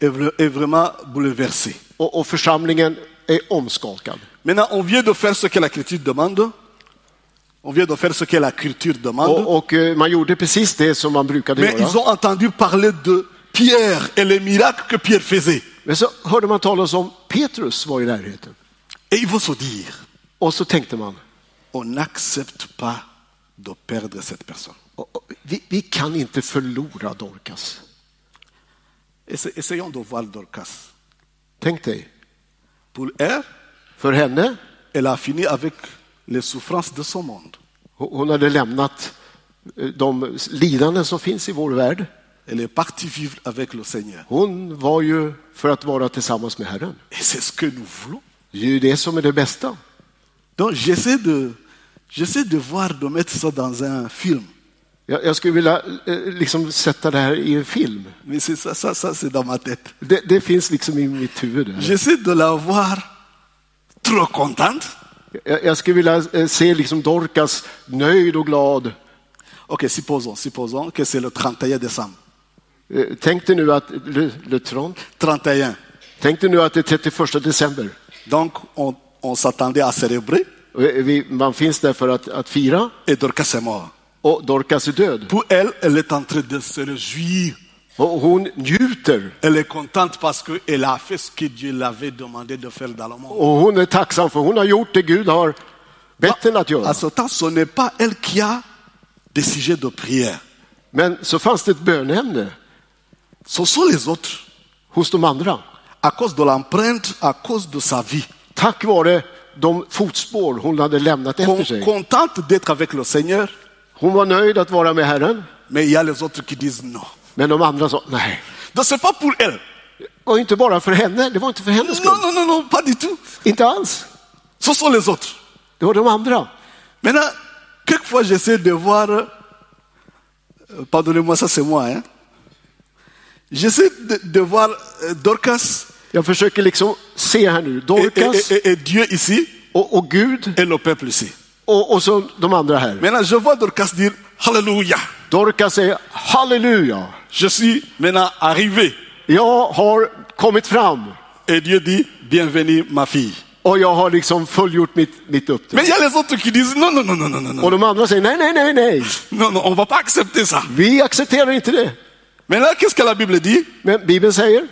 Speaker 1: est, vra- est vraiment bouleversée.
Speaker 2: och, och församlingen är omskakad.
Speaker 1: Maintenant, on vient de faire ce que la culture demande. On vient de faire ce que la culture demande.
Speaker 2: Och, och eh, man gjorde precis det som man brukade
Speaker 1: Mais
Speaker 2: göra.
Speaker 1: ils ont entendu parler de Pierre et les miracles que Pierre faisait.
Speaker 2: Men så hörde man talas om Petrus var i närheten.
Speaker 1: Et ils vont se dire,
Speaker 2: Och så tänkte man,
Speaker 1: on n'accepte pas de perdre cette personne.
Speaker 2: "Och- och, vi, vi kan inte förlora Dorcas.
Speaker 1: Essa- Essayons de voir Dorcas.
Speaker 2: Tänk dig,
Speaker 1: Pour elle,
Speaker 2: för henne,
Speaker 1: elle a fini avec les souffrances de son monde.
Speaker 2: ho- hon hade lämnat eh, de lidanden som finns i vår värld.
Speaker 1: Elle est partie vivre avec le Seigneur.
Speaker 2: Hon var ju för att vara tillsammans med Herren.
Speaker 1: Et c'est ce que nous voulons.
Speaker 2: Det är ju det som är det bästa.
Speaker 1: Donc j'essaie de, j'essaie de voir, de mettre ça dans un film.
Speaker 2: Jag, jag skulle vilja eh, liksom sätta det här i en film.
Speaker 1: Mais c'est ça, ça, ça c'est dans ma tête.
Speaker 2: Det, det finns liksom i mitt huvud. Där.
Speaker 1: J'essaie de la voir trop contente.
Speaker 2: Jag, jag skulle vilja eh, se liksom Dorcas nöjd och glad.
Speaker 1: Ok, supposons, supposons que c'est le 31 décembre.
Speaker 2: Eh, Tänk dig nu att, le, le 30,
Speaker 1: 31.
Speaker 2: tänk dig nu att det är 31 december.
Speaker 1: Donc on, on s'attendait à célébrer
Speaker 2: Och, eh, Vi, man finns där för att, att fira
Speaker 1: et Dorcas est mort.
Speaker 2: och Dorcas är död.
Speaker 1: Pour elle, elle est en train de se réjouir.
Speaker 2: Och hon njuter
Speaker 1: Elle est contente parce qu'elle a fait ce que Dieu l'avait demandé de faire dans le monde.
Speaker 2: och hon är tacksam för hon har gjort det Gud har bett henne att göra.
Speaker 1: À ce temps, ce n'est pas elle qui a des sujets de prière.
Speaker 2: Men så fanns det ett bönämne
Speaker 1: Ce sont les autres.
Speaker 2: hos de andra.
Speaker 1: À cause de l'empreinte, à cause de sa vie.
Speaker 2: Tack vare de fotspår hon hade lämnat efter
Speaker 1: Con-
Speaker 2: sig.
Speaker 1: contente d'être avec le Seigneur,
Speaker 2: Hon var nöjd att vara med Herren,
Speaker 1: mais il y a les autres qui disent non.
Speaker 2: men de andra sa nej.
Speaker 1: Donc c'est pas pour elle.
Speaker 2: Och inte bara för henne, det var inte för hennes
Speaker 1: Non,
Speaker 2: skull.
Speaker 1: non, non, non, pas du tout.
Speaker 2: Inte alls.
Speaker 1: Ce sont les autres.
Speaker 2: Det var de andra.
Speaker 1: Maintenant, quelquefois j'essaie de voir, euh, pardonnez-moi, ça c'est moi, hein. j'essaie de, de voir euh, Dorcas
Speaker 2: Jag försöker liksom se här
Speaker 1: et,
Speaker 2: nu,
Speaker 1: et-
Speaker 2: Dorcas
Speaker 1: et- et Dieu ici
Speaker 2: och, och Gud
Speaker 1: et le peuple ici.
Speaker 2: och, och så de andra här.
Speaker 1: Maintenant, je vois Dorcas dire Alléluia.
Speaker 2: Dorcas säger halleluja,
Speaker 1: Je suis maintenant arrivé.
Speaker 2: jag har kommit fram
Speaker 1: Et Dieu dit Bienvenue, ma fille.
Speaker 2: och jag har liksom fullgjort mitt, mitt uppdrag.
Speaker 1: Mais il y a les autres qui disent Non, non, non, non, non, non,
Speaker 2: Och
Speaker 1: non,
Speaker 2: de andra säger nej, nej, nej, nej,
Speaker 1: non, non on va pas accepter ça.
Speaker 2: vi accepterar inte det.
Speaker 1: Maintenant, qu'est-ce que la Bible dit
Speaker 2: Men Bibeln säger,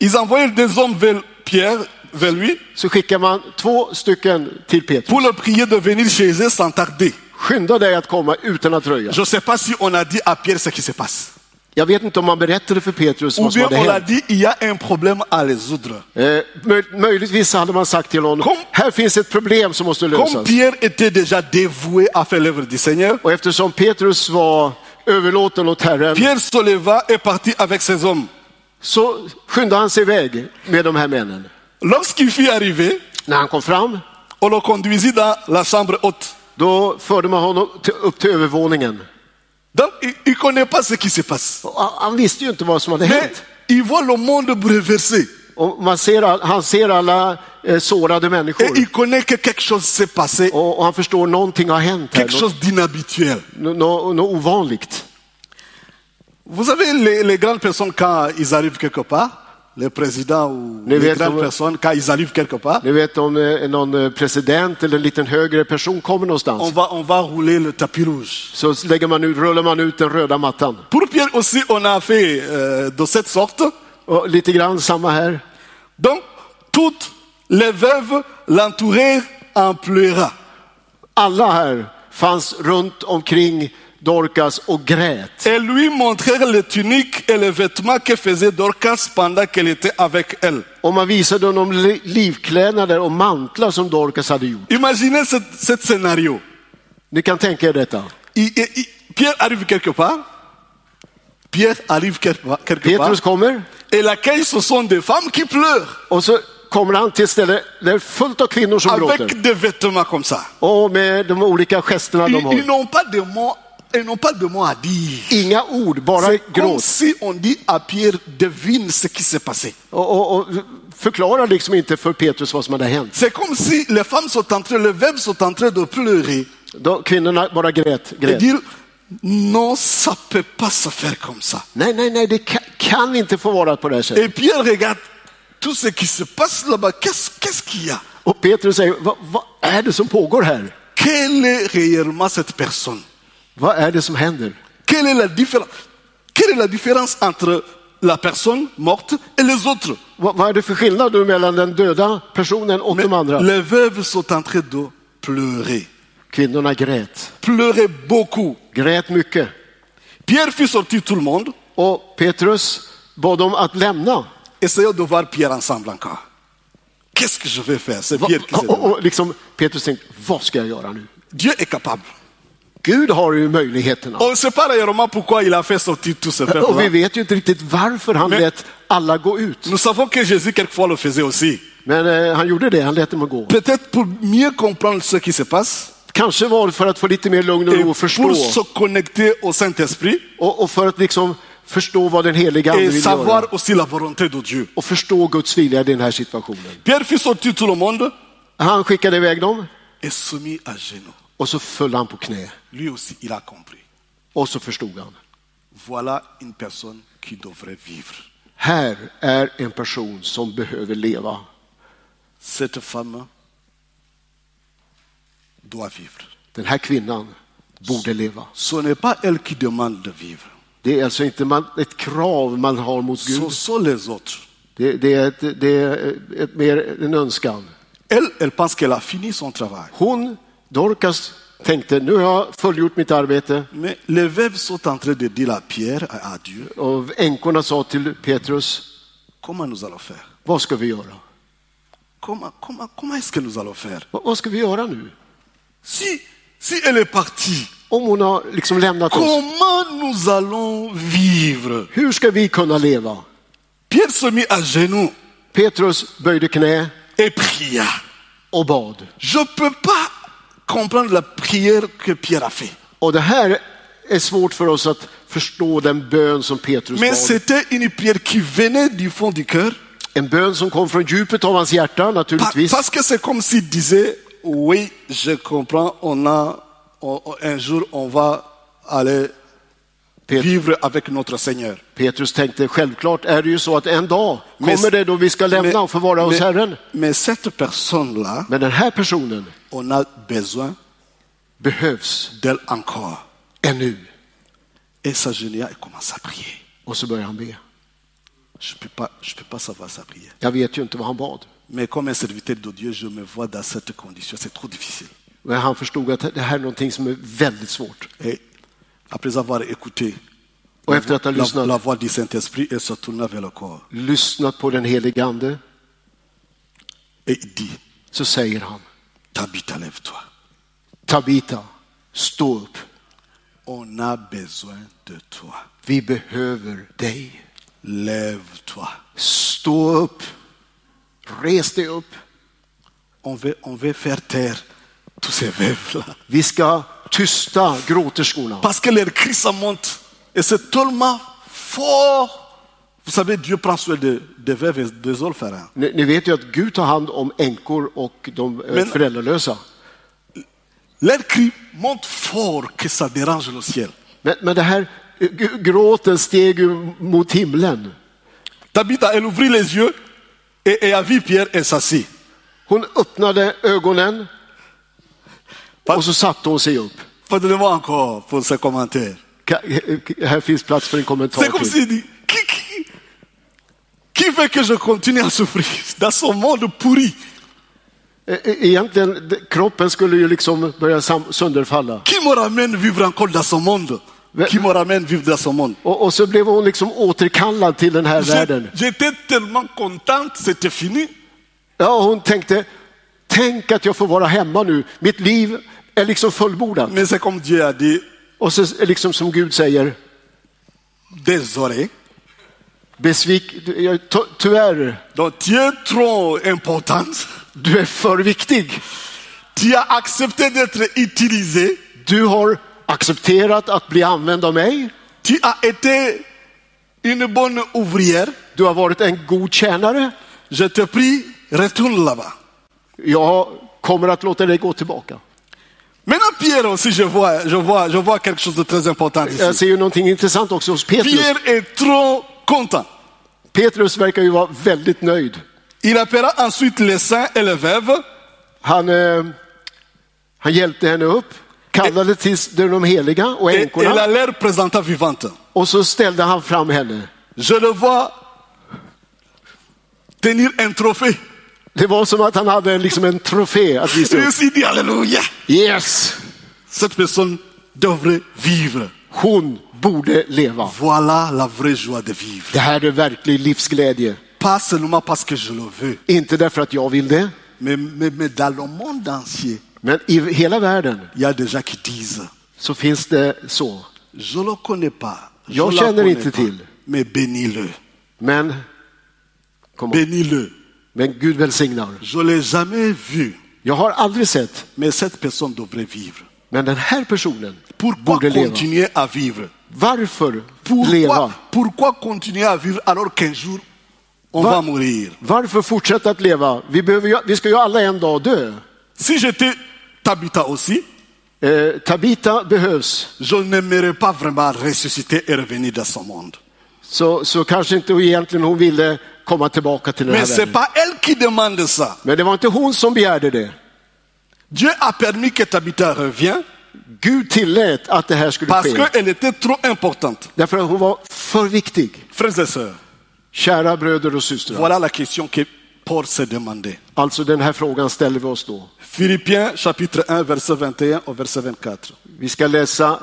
Speaker 1: Ils envoyaient des hommes vers Pierre, vers lui,
Speaker 2: så skickar man två stycken till Petrus.
Speaker 1: pour le prier de venir chez eux sans tarder.
Speaker 2: Skynda dig att komma utan att röja.
Speaker 1: Je ne sais pas si on a dit à Pierre ce qui se passe.
Speaker 2: Jag vet inte om man berättade för Petrus
Speaker 1: Ou
Speaker 2: vad som
Speaker 1: bien
Speaker 2: hade
Speaker 1: on a
Speaker 2: hänt.
Speaker 1: dit il y a un problème à résoudre.
Speaker 2: Eh, möj- möjligtvis hade man sagt till honom,
Speaker 1: Kom.
Speaker 2: här finns ett problem som måste
Speaker 1: Comme
Speaker 2: lösas.
Speaker 1: Pierre était déjà dévoué à faire l'œuvre du Seigneur,
Speaker 2: Och eftersom Petrus var överlåten åt Herren
Speaker 1: Pierre se leva et partit avec ses hommes.
Speaker 2: så skyndade han sig iväg med de här männen.
Speaker 1: Lorsqu'il fut arrivé,
Speaker 2: När han kom fram,
Speaker 1: on le conduisit dans la chambre haute.
Speaker 2: då förde man honom till, upp till övervåningen.
Speaker 1: Donc il ne connaît pas ce qui se passe.
Speaker 2: Och han- han visste ju inte vad som hade
Speaker 1: Mais
Speaker 2: hänt.
Speaker 1: il voit le monde bouleversé.
Speaker 2: Och man ser, all- han ser alla eh, sårade
Speaker 1: Et
Speaker 2: människor.
Speaker 1: il connaît que quelque chose s'est passé,
Speaker 2: Och, och han förstår någonting har hänt här,
Speaker 1: quelque chose d'inhabituel.
Speaker 2: något nå, nå ovanligt.
Speaker 1: Vous savez, les, les grandes personnes, quand ils arrivent quelque part, les présidents ou
Speaker 2: Mais
Speaker 1: les
Speaker 2: bien
Speaker 1: grandes
Speaker 2: sûr.
Speaker 1: personnes, quand ils arrivent quelque part,
Speaker 2: Ni vet om eh, någon eh, president eller en liten högre person kommer någonstans.
Speaker 1: on va, on va rouler le tapis rouge.
Speaker 2: Så lägger man ut, rullar man ut den röda mattan.
Speaker 1: Pour Pierre aussi, on a fait euh, de cette sorte.
Speaker 2: Och lite grann samma här.
Speaker 1: Donc, toutes les veuves l'entourèrent en pleurant.
Speaker 2: Alla här fanns runt omkring Dorcas och grät.
Speaker 1: Et lui montrèrent les tuniques et les vêtements que faisait Dorcas pendant qu'elle était avec elle.
Speaker 2: Och man visade honom li- livklädnader och mantlar som Dorcas hade gjort.
Speaker 1: Imaginez ce cet scénario.
Speaker 2: Ni kan tänka er detta.
Speaker 1: Il- il- il- Pierre arrive quelque part. Pierre arrive quelque part- quelque part.
Speaker 2: Petrus kommer
Speaker 1: Et l'accueil, ce sont des femmes qui pleurent
Speaker 2: och så kommer han till ett ställe där det är fullt av kvinnor som gråter.
Speaker 1: avec des vêtements comme ça.
Speaker 2: Och med de olika gesterna de
Speaker 1: Ils, ils
Speaker 2: har.
Speaker 1: n'ont pas de mots, ils n'ont pas de mots à dire.
Speaker 2: Inga ord, bara
Speaker 1: C'est comme
Speaker 2: gråt.
Speaker 1: si on dit à Pierre, devine ce qui s'est passé.
Speaker 2: Och, och, och förklarar liksom inte för Petrus vad som hade hänt.
Speaker 1: C'est comme si les femmes sont en train, les veuves sont en train de pleurer
Speaker 2: Då, kvinnorna bara grät.
Speaker 1: et
Speaker 2: grät.
Speaker 1: dire non, ça peut pas se faire comme ça.
Speaker 2: Nej, nej, nej, det kan, kan inte få vara på det här sättet.
Speaker 1: Et Pierre regarde tout ce qui se passe là-bas. Qu'est-ce qu'est-ce qu'il y a
Speaker 2: Och Petrus säger, vad, vad är det som pågår här?
Speaker 1: Quelle est réellement cette personne
Speaker 2: Vad är det som händer?
Speaker 1: Quelle est la différence Quelle est la différence entre la personne morte et les autres
Speaker 2: Vad, vad är det för skillnad då mellan den döda personen och de andra?
Speaker 1: Les veuves sont en train de pleurer,
Speaker 2: Kvinnorna grät,
Speaker 1: pleurer beaucoup.
Speaker 2: grät mycket.
Speaker 1: Pierre fit sortir tout le monde,
Speaker 2: Och Petrus bad dem att lämna.
Speaker 1: essayons de voir Pierre ensemble encore. Qu'est-ce que je vais faire C'est
Speaker 2: Va, Oh,
Speaker 1: Pierre qui se
Speaker 2: och,
Speaker 1: demande.
Speaker 2: och liksom, Petrus tänkte, vad ska jag göra nu?
Speaker 1: Dieu est capable.
Speaker 2: Gud har ju möjligheterna.
Speaker 1: On ne sait pas réellement pourquoi il a fait sortir tous ces peuples.
Speaker 2: Och vi vet ju inte riktigt varför han
Speaker 1: Men-
Speaker 2: lät alla gå ut.
Speaker 1: Nous savons que Jésus quelquefois le faisait aussi.
Speaker 2: Men eh, han gjorde det, han lät dem att gå.
Speaker 1: Peut-être pour mieux comprendre ce qui se passe
Speaker 2: Kanske var det för att få lite mer lugn och
Speaker 1: et
Speaker 2: ro och
Speaker 1: pour
Speaker 2: förstå.
Speaker 1: se connecter au Saint-Esprit
Speaker 2: Och, och för att liksom förstå vad den heliga ande
Speaker 1: et
Speaker 2: vill göra.
Speaker 1: savoir aussi la volonté de Dieu.
Speaker 2: Och förstå Guds vilja i den här situationen.
Speaker 1: Pierre fit sortir tout le monde
Speaker 2: Han skickade iväg dem
Speaker 1: et se mit à genoux.
Speaker 2: och så föll han på knä.
Speaker 1: Lui aussi, il a compris.
Speaker 2: Och så förstod han.
Speaker 1: Voilà une personne qui devrait vivre.
Speaker 2: Här är en person som behöver leva.
Speaker 1: Cette femme doit vivre.
Speaker 2: Den här kvinnan borde leva.
Speaker 1: Ce n'est pas elle qui demande de vivre.
Speaker 2: Det är alltså inte man, ett krav man har mot Gud.
Speaker 1: Ce sont les autres.
Speaker 2: Det, det är, ett, det är ett, mer en önskan.
Speaker 1: Elle, elle pense qu'elle a fini son travail.
Speaker 2: Hon, Dorcas, tänkte nu har jag fullgjort mitt arbete.
Speaker 1: Mais les veuves sont en train de dire à Pierre, à à Dieu,
Speaker 2: Och änkorna sa till Petrus,
Speaker 1: comment nous allons faire
Speaker 2: vad ska vi göra?
Speaker 1: Comment, comment, comment est-ce que nous allons faire
Speaker 2: Vad, vad ska vi göra nu?
Speaker 1: si, si elle est partie,
Speaker 2: Om hon har liksom lämnat oss,
Speaker 1: comment nous allons vivre
Speaker 2: hur ska vi kunna leva?
Speaker 1: Pierre se mit à genoux
Speaker 2: Petrus böjde knä
Speaker 1: et pria.
Speaker 2: och bad.
Speaker 1: Je ne peux pas comprendre la prière que Pierre a fait.
Speaker 2: Och det här är svårt för oss att förstå den bön som Petrus
Speaker 1: Mais
Speaker 2: bad.
Speaker 1: c'était une prière qui venait du fond du cœur.
Speaker 2: En bön som kom från djupet av hans hjärta
Speaker 1: pa-
Speaker 2: naturligtvis.
Speaker 1: Parce que c'est comme s'il disait, oui, je comprends, on a, on- on- un jour on va aller
Speaker 2: Pet-
Speaker 1: vivre avec notre Seigneur.
Speaker 2: Petrus tänkte självklart är det ju så att en dag
Speaker 1: Mais-
Speaker 2: kommer det då vi ska lämna och förvara hos
Speaker 1: mais-
Speaker 2: Herren.
Speaker 1: mais cette personne-là,
Speaker 2: Men den här personen
Speaker 1: on a besoin
Speaker 2: behövs
Speaker 1: d'elle encore.
Speaker 2: ännu.
Speaker 1: Et s'agenouilla et commence à prier.
Speaker 2: Och så börjar han be.
Speaker 1: Je ne peux, pas- je peux pas savoir sa prière.
Speaker 2: Jag vet ju inte vad han bad.
Speaker 1: Mais comme un serviteur de Dieu, je me vois dans cette condition. C'est trop difficile.
Speaker 2: Men han förstod att det här är någonting som är väldigt svårt.
Speaker 1: Et après avoir écouté
Speaker 2: Och efter att ha
Speaker 1: la, la
Speaker 2: lyssnat,
Speaker 1: voix du Saint-Esprit, elle se tourna vers le corps.
Speaker 2: lyssnat på den helige Ande
Speaker 1: Et il dit,
Speaker 2: så säger han
Speaker 1: Tabitha, lève-toi.
Speaker 2: Tabita, stå upp.
Speaker 1: On a besoin de toi.
Speaker 2: Vi behöver dig.
Speaker 1: Lève-toi.
Speaker 2: Stå upp. Res dig upp.
Speaker 1: On veut, on veut faire taire tous ces veuves-là.
Speaker 2: Vi ska tysta gråterskorna.
Speaker 1: Parce que leur cri, ça monte. Et c'est tellement fort. Vous savez, Dieu prend soin de- des veuves et des orphelins.
Speaker 2: Ni, ni vet ju att Gud tar hand om änkor och de eh,
Speaker 1: Men-
Speaker 2: föräldralösa.
Speaker 1: Leur cri monte fort que ça dérange le ciel.
Speaker 2: Men, men det här eh, g- gråten steg ju mot himlen.
Speaker 1: Tabitha, elle ouvrit les yeux et, et a vu Pierre et s'assit.
Speaker 2: Hon öppnade ögonen
Speaker 1: Va-
Speaker 2: och så satte hon sig upp.
Speaker 1: Pardonnez-moi encore pour ce commentaire.
Speaker 2: Ka- eh, Här finns plats för en
Speaker 1: C'est
Speaker 2: kommentar
Speaker 1: comme
Speaker 2: till.
Speaker 1: s'il dit, qui, qui, qui veut que je continue à souffrir dans ce monde pourri
Speaker 2: E- e- Egentligen, d- kroppen skulle ju liksom börja sam- sönderfalla.
Speaker 1: Qui me ramène vivre encore dans ce monde
Speaker 2: Mais-
Speaker 1: Qui me ramène vivre dans ce monde
Speaker 2: Och, och så blev hon liksom återkallad till den här världen.
Speaker 1: J'ai- J'étais tellement contente, c'était fini.
Speaker 2: Ja, hon tänkte, tänk att jag får vara hemma nu. Mitt liv är liksom fullbordat.
Speaker 1: Mais c'est comme Dieu a dit,
Speaker 2: Och så liksom som Gud säger,
Speaker 1: désolé.
Speaker 2: besvik, du- jag- ty- tyvärr,
Speaker 1: Donc tu es trop importante.
Speaker 2: du är för viktig.
Speaker 1: Tu as accepté d'être utilisée.
Speaker 2: Du har accepterat att bli använd av mig.
Speaker 1: Tu as été une bonne ouvrière.
Speaker 2: Du har varit en god tjänare.
Speaker 1: Je te prie, retourne là-bas.
Speaker 2: Jag kommer att låta dig gå tillbaka.
Speaker 1: Maintenant, Pierre aussi, je vois, je vois, je vois quelque chose de très important
Speaker 2: Jag
Speaker 1: ici.
Speaker 2: ser ju någonting intressant också hos Petrus.
Speaker 1: Euh, Pierre est trop content.
Speaker 2: Petrus verkar ju vara väldigt nöjd.
Speaker 1: Il appellera ensuite les saints et les veuves.
Speaker 2: Han, eh, han hjälpte henne upp, kallade till de heliga och
Speaker 1: Et et la
Speaker 2: änkorna
Speaker 1: leur présenta vivante.
Speaker 2: och så ställde han fram henne.
Speaker 1: Je le vois tenir un trophée.
Speaker 2: Det var som att han hade liksom en trofé att visa upp.
Speaker 1: Juste, Il dit Alléluia.
Speaker 2: Yes!
Speaker 1: Cette personne devrait vivre.
Speaker 2: Hon borde leva.
Speaker 1: Voilà la vraie joie de vivre.
Speaker 2: Det här är verklig livsglädje.
Speaker 1: Pas seulement parce que je le veux,
Speaker 2: Inte därför att jag vill det,
Speaker 1: mais, mais, mais dans le monde entier,
Speaker 2: men i hela världen
Speaker 1: il y a des gens qui disent
Speaker 2: så finns det så.
Speaker 1: Je ne le connais pas. Je
Speaker 2: Jag
Speaker 1: la
Speaker 2: känner
Speaker 1: connais
Speaker 2: inte
Speaker 1: pas,
Speaker 2: till.
Speaker 1: Mais bénis-le.
Speaker 2: Men, kom ihåg,
Speaker 1: Bénis-le.
Speaker 2: men Gud välsignar.
Speaker 1: Je ne l'ai jamais vu,
Speaker 2: Jag har aldrig sett,
Speaker 1: mais cette personne devrait vivre.
Speaker 2: men den här personen
Speaker 1: Pourquoi
Speaker 2: borde leva.
Speaker 1: continuer à vivre
Speaker 2: Varför
Speaker 1: pourquoi,
Speaker 2: leva?
Speaker 1: pourquoi continuer à vivre alors qu'un jour on
Speaker 2: Va-
Speaker 1: va mourir
Speaker 2: Varför fortsätta att leva? Vi, behöver ju, vi ska ju alla en dag dö.
Speaker 1: Si j'étais Tabitha aussi,
Speaker 2: Eh, Tabita behövs,
Speaker 1: je n'aimerais pas vraiment ressusciter et revenir dans ce monde.
Speaker 2: så, så kanske inte egentligen hon ville komma tillbaka till den
Speaker 1: Mais
Speaker 2: här
Speaker 1: c'est
Speaker 2: världen.
Speaker 1: pas elle qui demande ça.
Speaker 2: Men det var inte hon som begärde det.
Speaker 1: Dieu a permis que Tabitha revienne
Speaker 2: Gud tillät att det här skulle
Speaker 1: parce
Speaker 2: ske.
Speaker 1: qu'elle était trop importante.
Speaker 2: Därför att hon var för viktig.
Speaker 1: Frères et sœurs,
Speaker 2: Kära bröder och systrar.
Speaker 1: voilà la question que Paul s'est demandé.
Speaker 2: Alltså den här frågan ställer vi oss då.
Speaker 1: Philippiens chapitre 1, verset 21 au verset 24.
Speaker 2: Vi ska läsa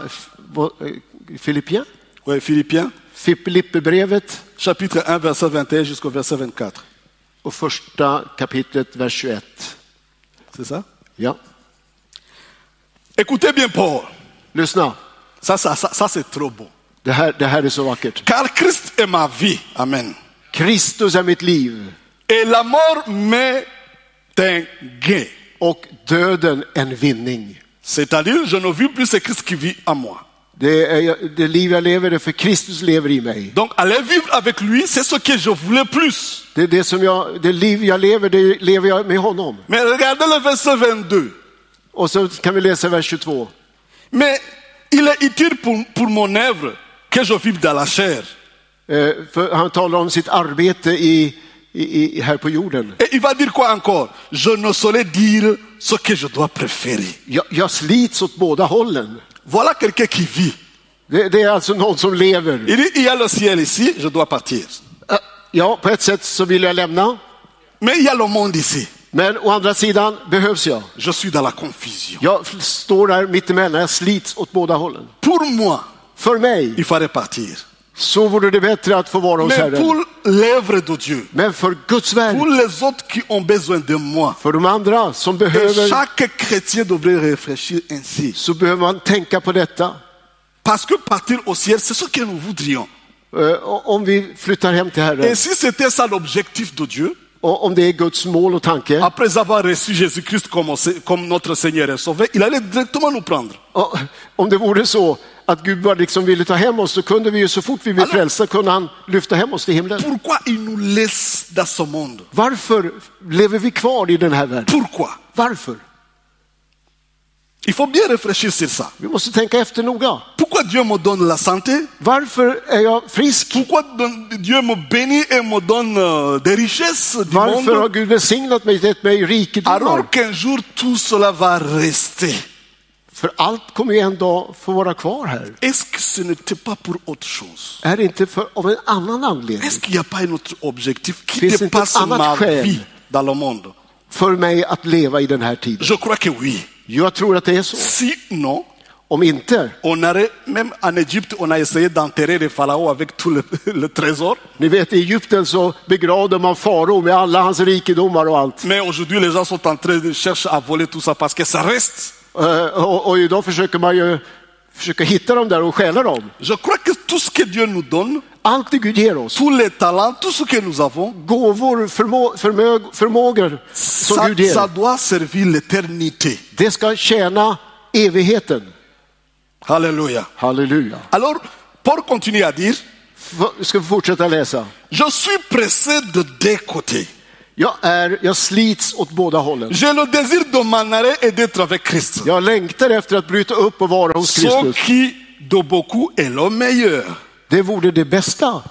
Speaker 2: eh, Filippien?
Speaker 1: Oui, Philippiens
Speaker 2: Filipperbrevet
Speaker 1: chapitre 1, verset 21 jusqu'au verset 24.
Speaker 2: och första kapitlet, vers 21.
Speaker 1: C'est ça
Speaker 2: Ja,
Speaker 1: Écoutez bien Paul.
Speaker 2: lyssna.
Speaker 1: Ça, ça, ça, ça c'est trop beau.
Speaker 2: Det här, det här är så vackert.
Speaker 1: Car Christ est ma vie. Amen.
Speaker 2: Kristus är mitt liv
Speaker 1: Et la mort m'est un gain.
Speaker 2: och döden en vinning.
Speaker 1: C'est-à-dire, je ne vis plus, c'est Christ qui vit en moi.
Speaker 2: Det, är, det liv jag lever är för Kristus lever i mig.
Speaker 1: Donc, aller vivre avec lui, c'est ce que je voulais plus.
Speaker 2: Det, är det, som jag, det liv jag lever, det lever jag med honom.
Speaker 1: Mais regardez le verset 22.
Speaker 2: Och så kan vi läsa vers 22.
Speaker 1: Mais il est utile pour, pour mon œuvre que je vive dans la chair.
Speaker 2: Eh, för han talar om sitt arbete i, i, i, här på jorden.
Speaker 1: Et il va dire quoi encore Je ne saurais dire ce que je dois préférer.
Speaker 2: Jag, jag slits åt båda hållen.
Speaker 1: Voilà quelqu'un qui vit.
Speaker 2: Det, det är alltså någon som lever.
Speaker 1: Il dit, il y a le ciel ici, je dois partir.
Speaker 2: Eh, Ja, på ett sätt så vill jag lämna.
Speaker 1: Mais il y a le monde ici.
Speaker 2: Men å andra sidan behövs jag.
Speaker 1: Je suis dans la confusion.
Speaker 2: Jag f- står där mittemellan, jag slits åt båda hållen.
Speaker 1: Pour moi,
Speaker 2: För mig
Speaker 1: il fallait partir.
Speaker 2: så vore det bättre att få vara hos
Speaker 1: Mais pour
Speaker 2: Herren.
Speaker 1: l'œuvre de Dieu,
Speaker 2: Men för Guds
Speaker 1: pour
Speaker 2: verk,
Speaker 1: les autres qui ont besoin de moi,
Speaker 2: för de andra som
Speaker 1: et
Speaker 2: behöver,
Speaker 1: chaque chrétien devrait réfléchir ainsi.
Speaker 2: så behöver man tänka på detta.
Speaker 1: Parce que partir au ciel, c'est ce que nous voudrions.
Speaker 2: Eh, Om vi flyttar hem till
Speaker 1: Et
Speaker 2: Herren,
Speaker 1: si c'était ça l'objectif de Dieu,
Speaker 2: och om det är Guds mål och tanke,
Speaker 1: après avoir reçu Jésus-Christ comme, comme notre Seigneur et Sauveur, il allait directement nous prendre.
Speaker 2: Ja, Om det vore så att Gud bara liksom ville ta hem oss, så kunde vi ju så fort vi blev
Speaker 1: Hallå?
Speaker 2: frälsta kunde han lyfta hem oss till himlen.
Speaker 1: Pourquoi il nous laisse dans ce monde
Speaker 2: Varför lever vi kvar i den här världen?
Speaker 1: Pourquoi
Speaker 2: Varför?
Speaker 1: Il faut bien réfléchir sur ça.
Speaker 2: Vi måste tänka efter noga.
Speaker 1: Pourquoi Dieu me donne la santé
Speaker 2: Varför är jag frisk?
Speaker 1: Pourquoi don- Dieu me bénit et me donne euh, des richesses du
Speaker 2: Varför har
Speaker 1: monde
Speaker 2: Gud välsignat mig, gett mig rikedomar?
Speaker 1: Alors qu'un jour tout cela va rester.
Speaker 2: För allt kommer ju en dag få vara kvar här.
Speaker 1: Est-ce que ce n'était pas pour autre chose
Speaker 2: Är det inte för, av en annan anledning?
Speaker 1: Est-ce qu'il n'y a pas un autre objectif qui
Speaker 2: Fais cette
Speaker 1: dépasse
Speaker 2: amat
Speaker 1: ma
Speaker 2: skäl.
Speaker 1: vie dans le monde
Speaker 2: För mig att leva i den här tiden?
Speaker 1: Je crois que oui.
Speaker 2: Jag tror att det är så.
Speaker 1: Sinon,
Speaker 2: Om inte,
Speaker 1: on aurait, même en Égypte, on a essayé d'enterrer les pharaons avec tout le, le trésor.
Speaker 2: Ni vet i Egypten så begravde man farao med alla hans rikedomar och allt.
Speaker 1: Mais aujourd'hui, les gens sont en train de chercher à voler tout ça parce que ça reste.
Speaker 2: Eh, Och, och idag försöker man ju försöka hitta dem där och stjäla dem.
Speaker 1: Je crois que tout ce que Dieu nous donne,
Speaker 2: Allt det Gud ger oss,
Speaker 1: tous les talents, tout ce que nous avons,
Speaker 2: gåvor, förmå, förmög, förmågor som
Speaker 1: ça,
Speaker 2: Gud ger,
Speaker 1: ça doit servir l'éternité.
Speaker 2: det ska tjäna evigheten.
Speaker 1: Alléluia.
Speaker 2: Halleluja.
Speaker 1: Alors, Paul continue à dire,
Speaker 2: F- Ska vi fortsätta läsa?
Speaker 1: je suis pressé de deux côtés.
Speaker 2: Jag, är, jag slits åt båda hållen.
Speaker 1: J'ai le désir de m'en aller et d'être avec Christ.
Speaker 2: Jag längtar efter att bryta upp och vara hos
Speaker 1: Ce
Speaker 2: Kristus.
Speaker 1: qui, de beaucoup, est le meilleur.
Speaker 2: Det vore det bästa.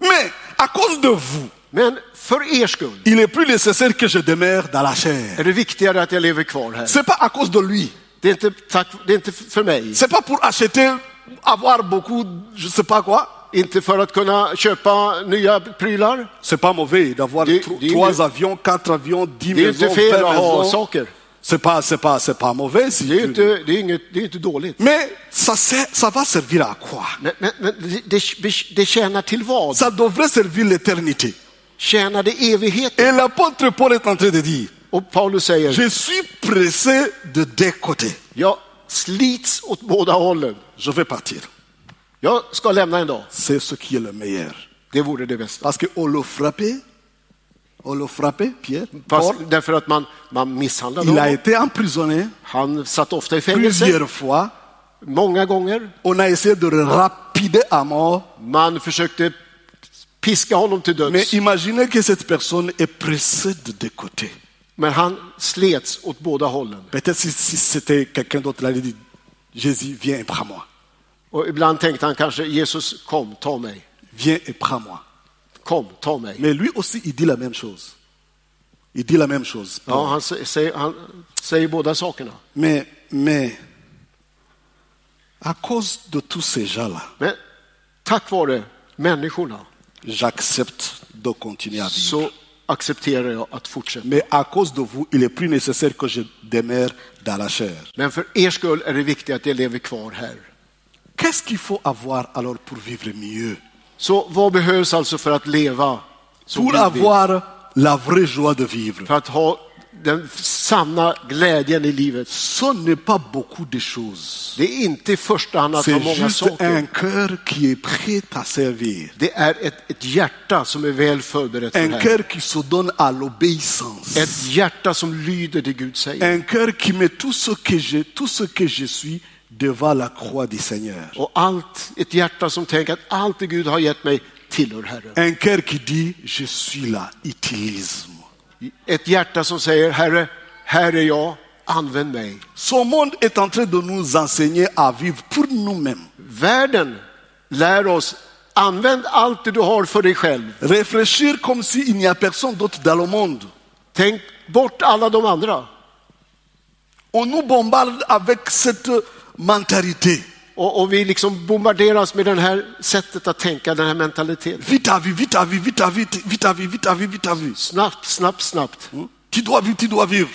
Speaker 1: Mais à cause de vous,
Speaker 2: Men för er skull
Speaker 1: il est plus nécessaire que je demeure dans la chair.
Speaker 2: är det viktigare att jag lever kvar här.
Speaker 1: C'est pas à cause de lui.
Speaker 2: Det är inte, tack, det är inte för mig.
Speaker 1: C'est pas pour acheter, avoir beaucoup, je sais pas quoi.
Speaker 2: Inte för att kunna köpa nya prylar.
Speaker 1: C'est pas mauvais d'avoir
Speaker 2: Dis-
Speaker 1: tro-
Speaker 2: dis-
Speaker 1: trois avions, quatre avions, dix
Speaker 2: Det är
Speaker 1: maisons,
Speaker 2: inte fel
Speaker 1: vingt
Speaker 2: att ha
Speaker 1: maisons.
Speaker 2: saker.
Speaker 1: C'est pas, c'est pas, c'est pas mauvais. si
Speaker 2: Det är ju
Speaker 1: tu-
Speaker 2: inte, det är inget, det är inte dåligt.
Speaker 1: Mais ça, sert- ça va servir à quoi
Speaker 2: Men, men, men det, det- det tjänar till vad?
Speaker 1: Ça devrait servir l'éternité.
Speaker 2: Tjänar det evigheten?
Speaker 1: Et l'apôtre Paul est en train de dire,
Speaker 2: Och Paulus säger,
Speaker 1: je suis pressé de deux côtés.
Speaker 2: jag slits åt båda hållen.
Speaker 1: Je vais partir.
Speaker 2: Jag ska lämna en dag.
Speaker 1: C'est ce qui est le meilleur.
Speaker 2: Det vore det bästa.
Speaker 1: Parce qu'on le frappait, on le frappait, Pierre.
Speaker 2: Fast,
Speaker 1: Paul,
Speaker 2: därför att man, man misshandlade
Speaker 1: il a
Speaker 2: honom.
Speaker 1: été emprisonné
Speaker 2: Han satt ofta i fängelse,
Speaker 1: plusieurs fois.
Speaker 2: många gånger.
Speaker 1: On a essayé de le rapider à mort.
Speaker 2: Man försökte piska honom till
Speaker 1: Mais
Speaker 2: döds.
Speaker 1: imaginez que cette personne est pressée de deux côtés.
Speaker 2: Men han slets åt båda hållen.
Speaker 1: Peut-être si, si c'était quelqu'un d'autre, il allait dire Jésus, viens et prends-moi.
Speaker 2: Och ibland tänkte han kanske, Jesus kom, ta mig.
Speaker 1: Viens et prends-moi.
Speaker 2: Kom, ta mig.
Speaker 1: Mais lui aussi, il dit la même chose. Il dit la même chose.
Speaker 2: Ja, han, sä- säger, han säger båda sakerna.
Speaker 1: Mais, mais, à cause de tous ces gens-là,
Speaker 2: Men tack vare människorna
Speaker 1: j'accepte de continuer à vivre.
Speaker 2: så accepterar jag att fortsätta.
Speaker 1: Mais à cause de vous, il est plus nécessaire que je demeure dans la chair.
Speaker 2: Men för er skull är det viktigt att jag lever kvar här.
Speaker 1: Qu'est-ce qu'il faut avoir alors pour vivre mieux
Speaker 2: Så vad behövs alltså för att leva? som
Speaker 1: Pour
Speaker 2: Gud vill?
Speaker 1: avoir la vraie joie de vivre.
Speaker 2: För att ha den sanna glädjen i livet.
Speaker 1: Ce n'est pas beaucoup de choses.
Speaker 2: Det är inte i första hand att ha
Speaker 1: C'est
Speaker 2: många
Speaker 1: juste
Speaker 2: saker.
Speaker 1: un cœur qui est prêt à servir.
Speaker 2: Det är ett, ett hjärta som är väl förberett för det
Speaker 1: Un
Speaker 2: här.
Speaker 1: cœur qui se donne à l'obéissance.
Speaker 2: Ett hjärta som lyder det Gud säger.
Speaker 1: Un cœur qui met tout ce que je, tout ce que je suis devant la croix du Seigneur.
Speaker 2: Och allt, ett hjärta som tänker att allt det Gud har gett mig tillhör Herren.
Speaker 1: Un cœur qui dit, je suis là, utilise-moi.
Speaker 2: Ett hjärta som säger Herre, här är jag, använd mig.
Speaker 1: Ce monde est en train de nous enseigner à vivre pour nous-mêmes.
Speaker 2: Världen lär oss, använd allt det du har för dig själv.
Speaker 1: Réfléchir comme s'il n'y a personne d'autre dans le monde.
Speaker 2: Tänk bort alla de andra.
Speaker 1: On nous bombarde avec cette mentalité.
Speaker 2: Och, och vi liksom bombarderas med det här sättet att tänka, den här mentaliteten.
Speaker 1: Vite à vie, vite à vie, vite à vie, vite à vie, vite à vie, vite à vie.
Speaker 2: Snabbt, snabbt, snabbt.
Speaker 1: Hmm? Tu dois vivre, tu dois vivre.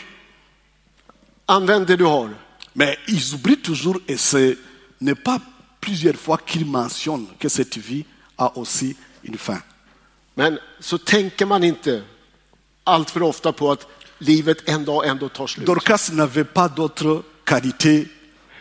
Speaker 2: Använd det du har.
Speaker 1: Mais ils oublient toujours, et ce n'est pas plusieurs fois qu'ils mentionnent que cette vie a aussi une fin.
Speaker 2: Men så tänker man inte allt för ofta på att livet en dag ändå tar slut.
Speaker 1: Dorcas n'avait pas d'autres qualités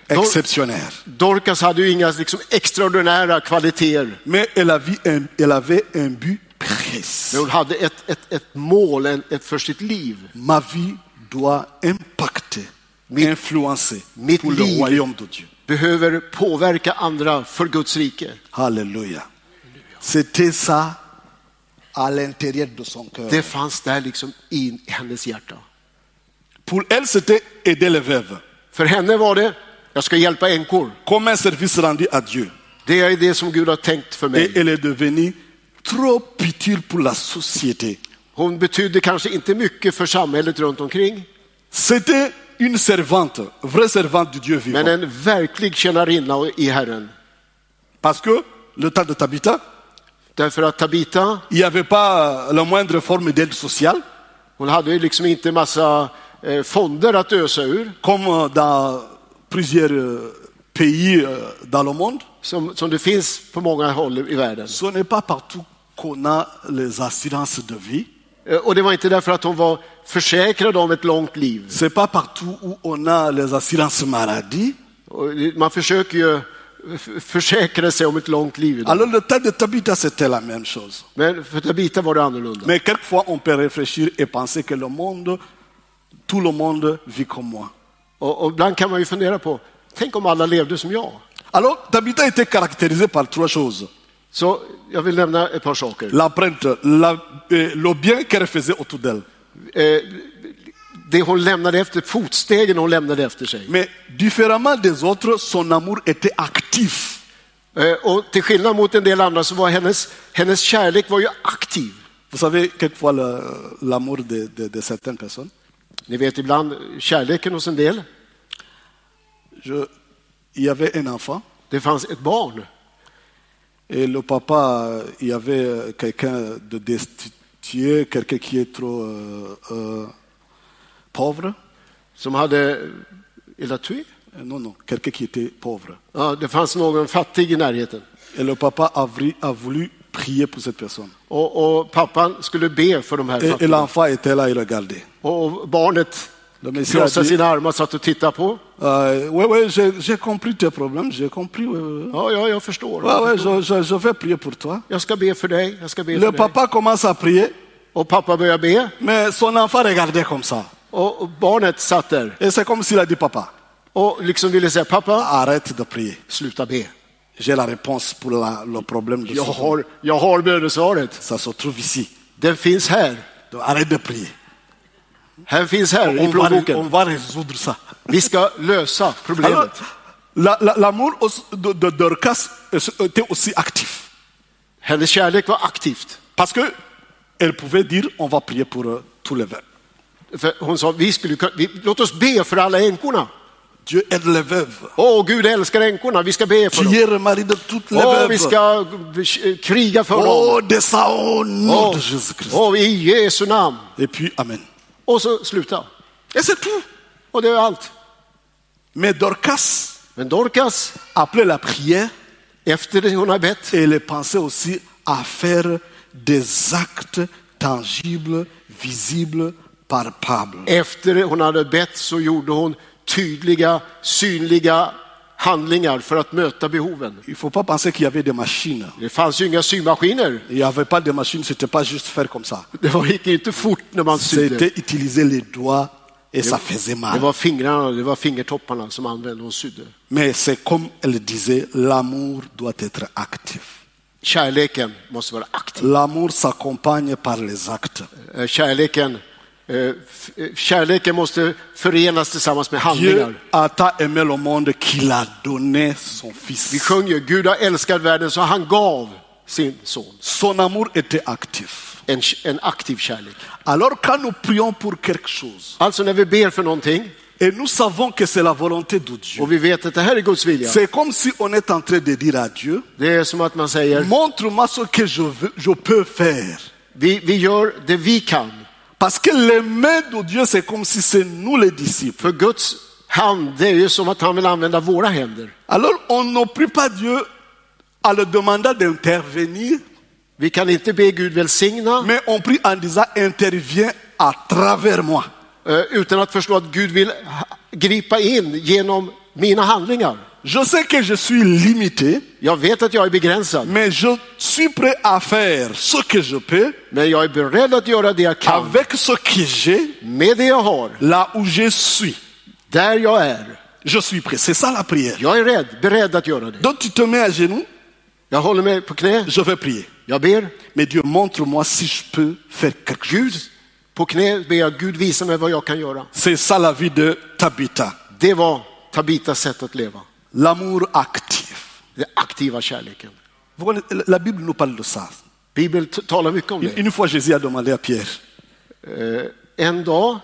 Speaker 2: Dor-
Speaker 1: exceptionnelles.
Speaker 2: Dorcas hade ju inga liksom, extraordinära kvaliteter.
Speaker 1: Mais elle avait un, elle avait un but
Speaker 2: Men
Speaker 1: précis.
Speaker 2: hon hade ett, ett, ett mål en, ett för sitt liv.
Speaker 1: Ma vie doit impacter, influencer
Speaker 2: mit
Speaker 1: pour le
Speaker 2: liv.
Speaker 1: royaume de Dieu.
Speaker 2: Behöver påverka andra för Guds rike.
Speaker 1: Alléluia. C'était ça à l'intérieur de son cœur.
Speaker 2: Det fanns där liksom i hennes hjärta.
Speaker 1: Pour elle, c'était aider les veuves,
Speaker 2: För henne var det, jag ska hjälpa änkor.
Speaker 1: comme un service rendu à Dieu.
Speaker 2: Det är det som Gud har tänkt för
Speaker 1: Et
Speaker 2: mig.
Speaker 1: elle est devenue trop utile pour la société.
Speaker 2: Hon betydde kanske inte mycket för samhället runt omkring.
Speaker 1: C'était une servante, vraie servante du Dieu vivant.
Speaker 2: Men en verklig tjänarinna i Herren.
Speaker 1: Parce que le temps de Tabitha,
Speaker 2: Därför att Tabita,
Speaker 1: il n'y avait pas euh, la moindre forme d'aide sociale,
Speaker 2: hon hade ju liksom inte massa eh, fonder att ösa ur.
Speaker 1: comme euh, dans plusieurs euh, pays euh, dans le monde.
Speaker 2: Som, som det finns på många håll i världen.
Speaker 1: Ce n'est pas partout qu'on a les assurances de vie.
Speaker 2: Eh, Och det var inte därför att hon var försäkrad om ett långt liv.
Speaker 1: Ce n'est pas partout où on a les assurances maladie.
Speaker 2: Och Man försöker ju f- försäkra sig om ett långt liv. idag.
Speaker 1: Alors le temps de Tabitha, c'était la même chose.
Speaker 2: Men för Tabita var det annorlunda.
Speaker 1: Mais quelquefois, on peut réfléchir et penser que le monde, tout le monde vit comme moi.
Speaker 2: Och, och ibland kan man ju fundera på, tänk om alla levde som jag.
Speaker 1: Alors, Tabitha était caractérisée par trois choses.
Speaker 2: Så jag vill nämna ett par saker.
Speaker 1: l'empreinte, la- euh, le bien qu'elle faisait autour d'elle.
Speaker 2: Eh, Det hon lämnade efter, fotstegen hon lämnade efter sig.
Speaker 1: Mais différemment des autres, son amour était actif.
Speaker 2: Eh, Och till skillnad mot en del andra så var hennes, hennes kärlek var ju aktiv.
Speaker 1: Vous savez, quelquefois, le- l'amour de, de- de certaines personnes,
Speaker 2: Ni vet ibland kärleken hos en del.
Speaker 1: je, il y avait un enfant
Speaker 2: Det fanns ett barn.
Speaker 1: et le papa, euh, il y avait euh, quelqu'un de destitué, quelqu'un qui est trop euh, euh, pauvre.
Speaker 2: som hade illa tui.
Speaker 1: Euh, Non, non, quelqu'un qui était pauvre.
Speaker 2: Ja, det fanns någon fattig i närheten.
Speaker 1: Et le papa a, vri- a voulu prier pour cette personne.
Speaker 2: Och, och pappan skulle be för de här
Speaker 1: Et, et
Speaker 2: fattiga.
Speaker 1: l'enfant était là, il regardait.
Speaker 2: Och och barnet
Speaker 1: Le Messie a
Speaker 2: krossade
Speaker 1: dit,
Speaker 2: sina armar, satt och tittade på.
Speaker 1: euh, oui, oui, j'ai j'ai compris tes problèmes, j'ai compris. Oui, oui, oui.
Speaker 2: Ja, ja, jag förstår.
Speaker 1: Ouais, ouais, je, je- je vais prier pour toi.
Speaker 2: Jag ska be för dig, jag ska be
Speaker 1: Le
Speaker 2: för dig.
Speaker 1: papa commence à prier,
Speaker 2: Och pappa började be.
Speaker 1: mais son enfant regardait comme ça.
Speaker 2: Och och barnet satt där
Speaker 1: Et c'est comme s'il a dit, papa,
Speaker 2: och liksom ville säga, pappa,
Speaker 1: arrête de prier.
Speaker 2: sluta be.
Speaker 1: J'ai la réponse pour la- le problème de
Speaker 2: Jag
Speaker 1: ce-
Speaker 2: har, jag har bönesvaret.
Speaker 1: Ça se trouve ici.
Speaker 2: Den finns här.
Speaker 1: Donc, arrête de prier.
Speaker 2: Den finns här
Speaker 1: On
Speaker 2: i
Speaker 1: va, on
Speaker 2: plånboken.
Speaker 1: va résoudre ça.
Speaker 2: Vi ska lösa
Speaker 1: Alors,
Speaker 2: problemet.
Speaker 1: la- la- l'amour aussi- de, de Dorcas était aussi actif.
Speaker 2: Hennes kärlek var aktivt.
Speaker 1: Parce que elle pouvait dire, on va prier pour euh, tous les veuves.
Speaker 2: För hon sa, vi skulle, kunna- vi, låt oss be för alla änkorna.
Speaker 1: Dieu aide les veuves.
Speaker 2: Åh, Gud älskar änkorna, vi ska be för dem.
Speaker 1: Priez le mari de toutes les
Speaker 2: Åh, vi
Speaker 1: veuves.
Speaker 2: ska eh, kriga för dem.
Speaker 1: Oh, descends au nom
Speaker 2: Åh,
Speaker 1: de Jésus-Christ.
Speaker 2: åh, i Jesu namn.
Speaker 1: Et puis, Amen.
Speaker 2: Och så sluta.
Speaker 1: Et c'est tout.
Speaker 2: Och det är allt.
Speaker 1: Mais Dorcas
Speaker 2: Men Dorcas,
Speaker 1: appelait la prière
Speaker 2: efter det hon har bett,
Speaker 1: et elle pensait aussi à faire des actes tangibles, visibles, palpables.
Speaker 2: efter det hon hade bett så gjorde hon tydliga, synliga handlingar för att möta behoven.
Speaker 1: Il ne faut pas penser qu'il y avait des machines.
Speaker 2: Det fanns ju inga symaskiner.
Speaker 1: Il n'y avait pas de machines, c'était pas juste faire comme ça.
Speaker 2: Det var- gick inte fort när man sydde.
Speaker 1: C'était utiliser les doigts et ça faisait
Speaker 2: Det
Speaker 1: mal.
Speaker 2: var fingrarna, det var fingertopparna som använde och sydde.
Speaker 1: Mais c'est comme elle disait, l'amour doit être actif.
Speaker 2: Kärleken måste vara aktiv.
Speaker 1: L'amour s'accompagne par les actes.
Speaker 2: Eh, Kärleken, eh, f- eh, kärleken måste förenas tillsammans med handlingar.
Speaker 1: Dieu a tant aimé le monde qu'il a donné son
Speaker 2: Vi
Speaker 1: Fils.
Speaker 2: sjunger Gud har älskat världen så han gav sin son.
Speaker 1: Son amour était actif.
Speaker 2: En, k- en aktiv kärlek.
Speaker 1: Alors quand nous prions pour quelque chose
Speaker 2: Alltså när vi ber för någonting
Speaker 1: et nous savons que c'est la volonté de Dieu,
Speaker 2: och vi vet att det här är Guds vilja.
Speaker 1: c'est comme si on est en train de dire à Dieu,
Speaker 2: Det är som att man säger,
Speaker 1: montre-moi ce que je, veux, je peux faire.
Speaker 2: vi, vi gör det vi kan.
Speaker 1: Parce que les mains de Dieu, c'est comme si c'est nous les disciples.
Speaker 2: För Guds hand, det är ju som att han vill använda våra händer.
Speaker 1: Alors on ne prie pas Dieu en le demandant d'intervenir,
Speaker 2: Vi kan inte be Gud välsigna
Speaker 1: mais on prie en disant interviens à travers moi.
Speaker 2: eh, utan att förstå att Gud vill ha- gripa in genom mina handlingar.
Speaker 1: Je sais que je suis limité,
Speaker 2: Jag vet att jag är begränsad.
Speaker 1: mais je suis prêt à faire ce que je peux
Speaker 2: Men jag är beredd att göra det jag kan
Speaker 1: avec ce que j'ai,
Speaker 2: med det jag har,
Speaker 1: là où je suis.
Speaker 2: där jag är.
Speaker 1: Je suis prêt. C'est ça la prière.
Speaker 2: Jag är rädd, beredd att göra det.
Speaker 1: Donc tu te mets à genoux,
Speaker 2: Jag håller mig på knä,
Speaker 1: je vais prier.
Speaker 2: jag ber.
Speaker 1: Mais Dieu, montre-moi si je peux faire quelque chose.
Speaker 2: På knä ber jag Gud visa mig vad jag kan göra.
Speaker 1: C'est ça la vie de Tabitha.
Speaker 2: Det var Tabitas sätt att leva.
Speaker 1: L'amour actif.
Speaker 2: Den aktiva kärleken.
Speaker 1: Vous connaissez- la Bible nous parle de ça.
Speaker 2: Bibeln t- talar mycket om
Speaker 1: Une
Speaker 2: det.
Speaker 1: une fois, Jésus a demandé à Pierre.
Speaker 2: En dag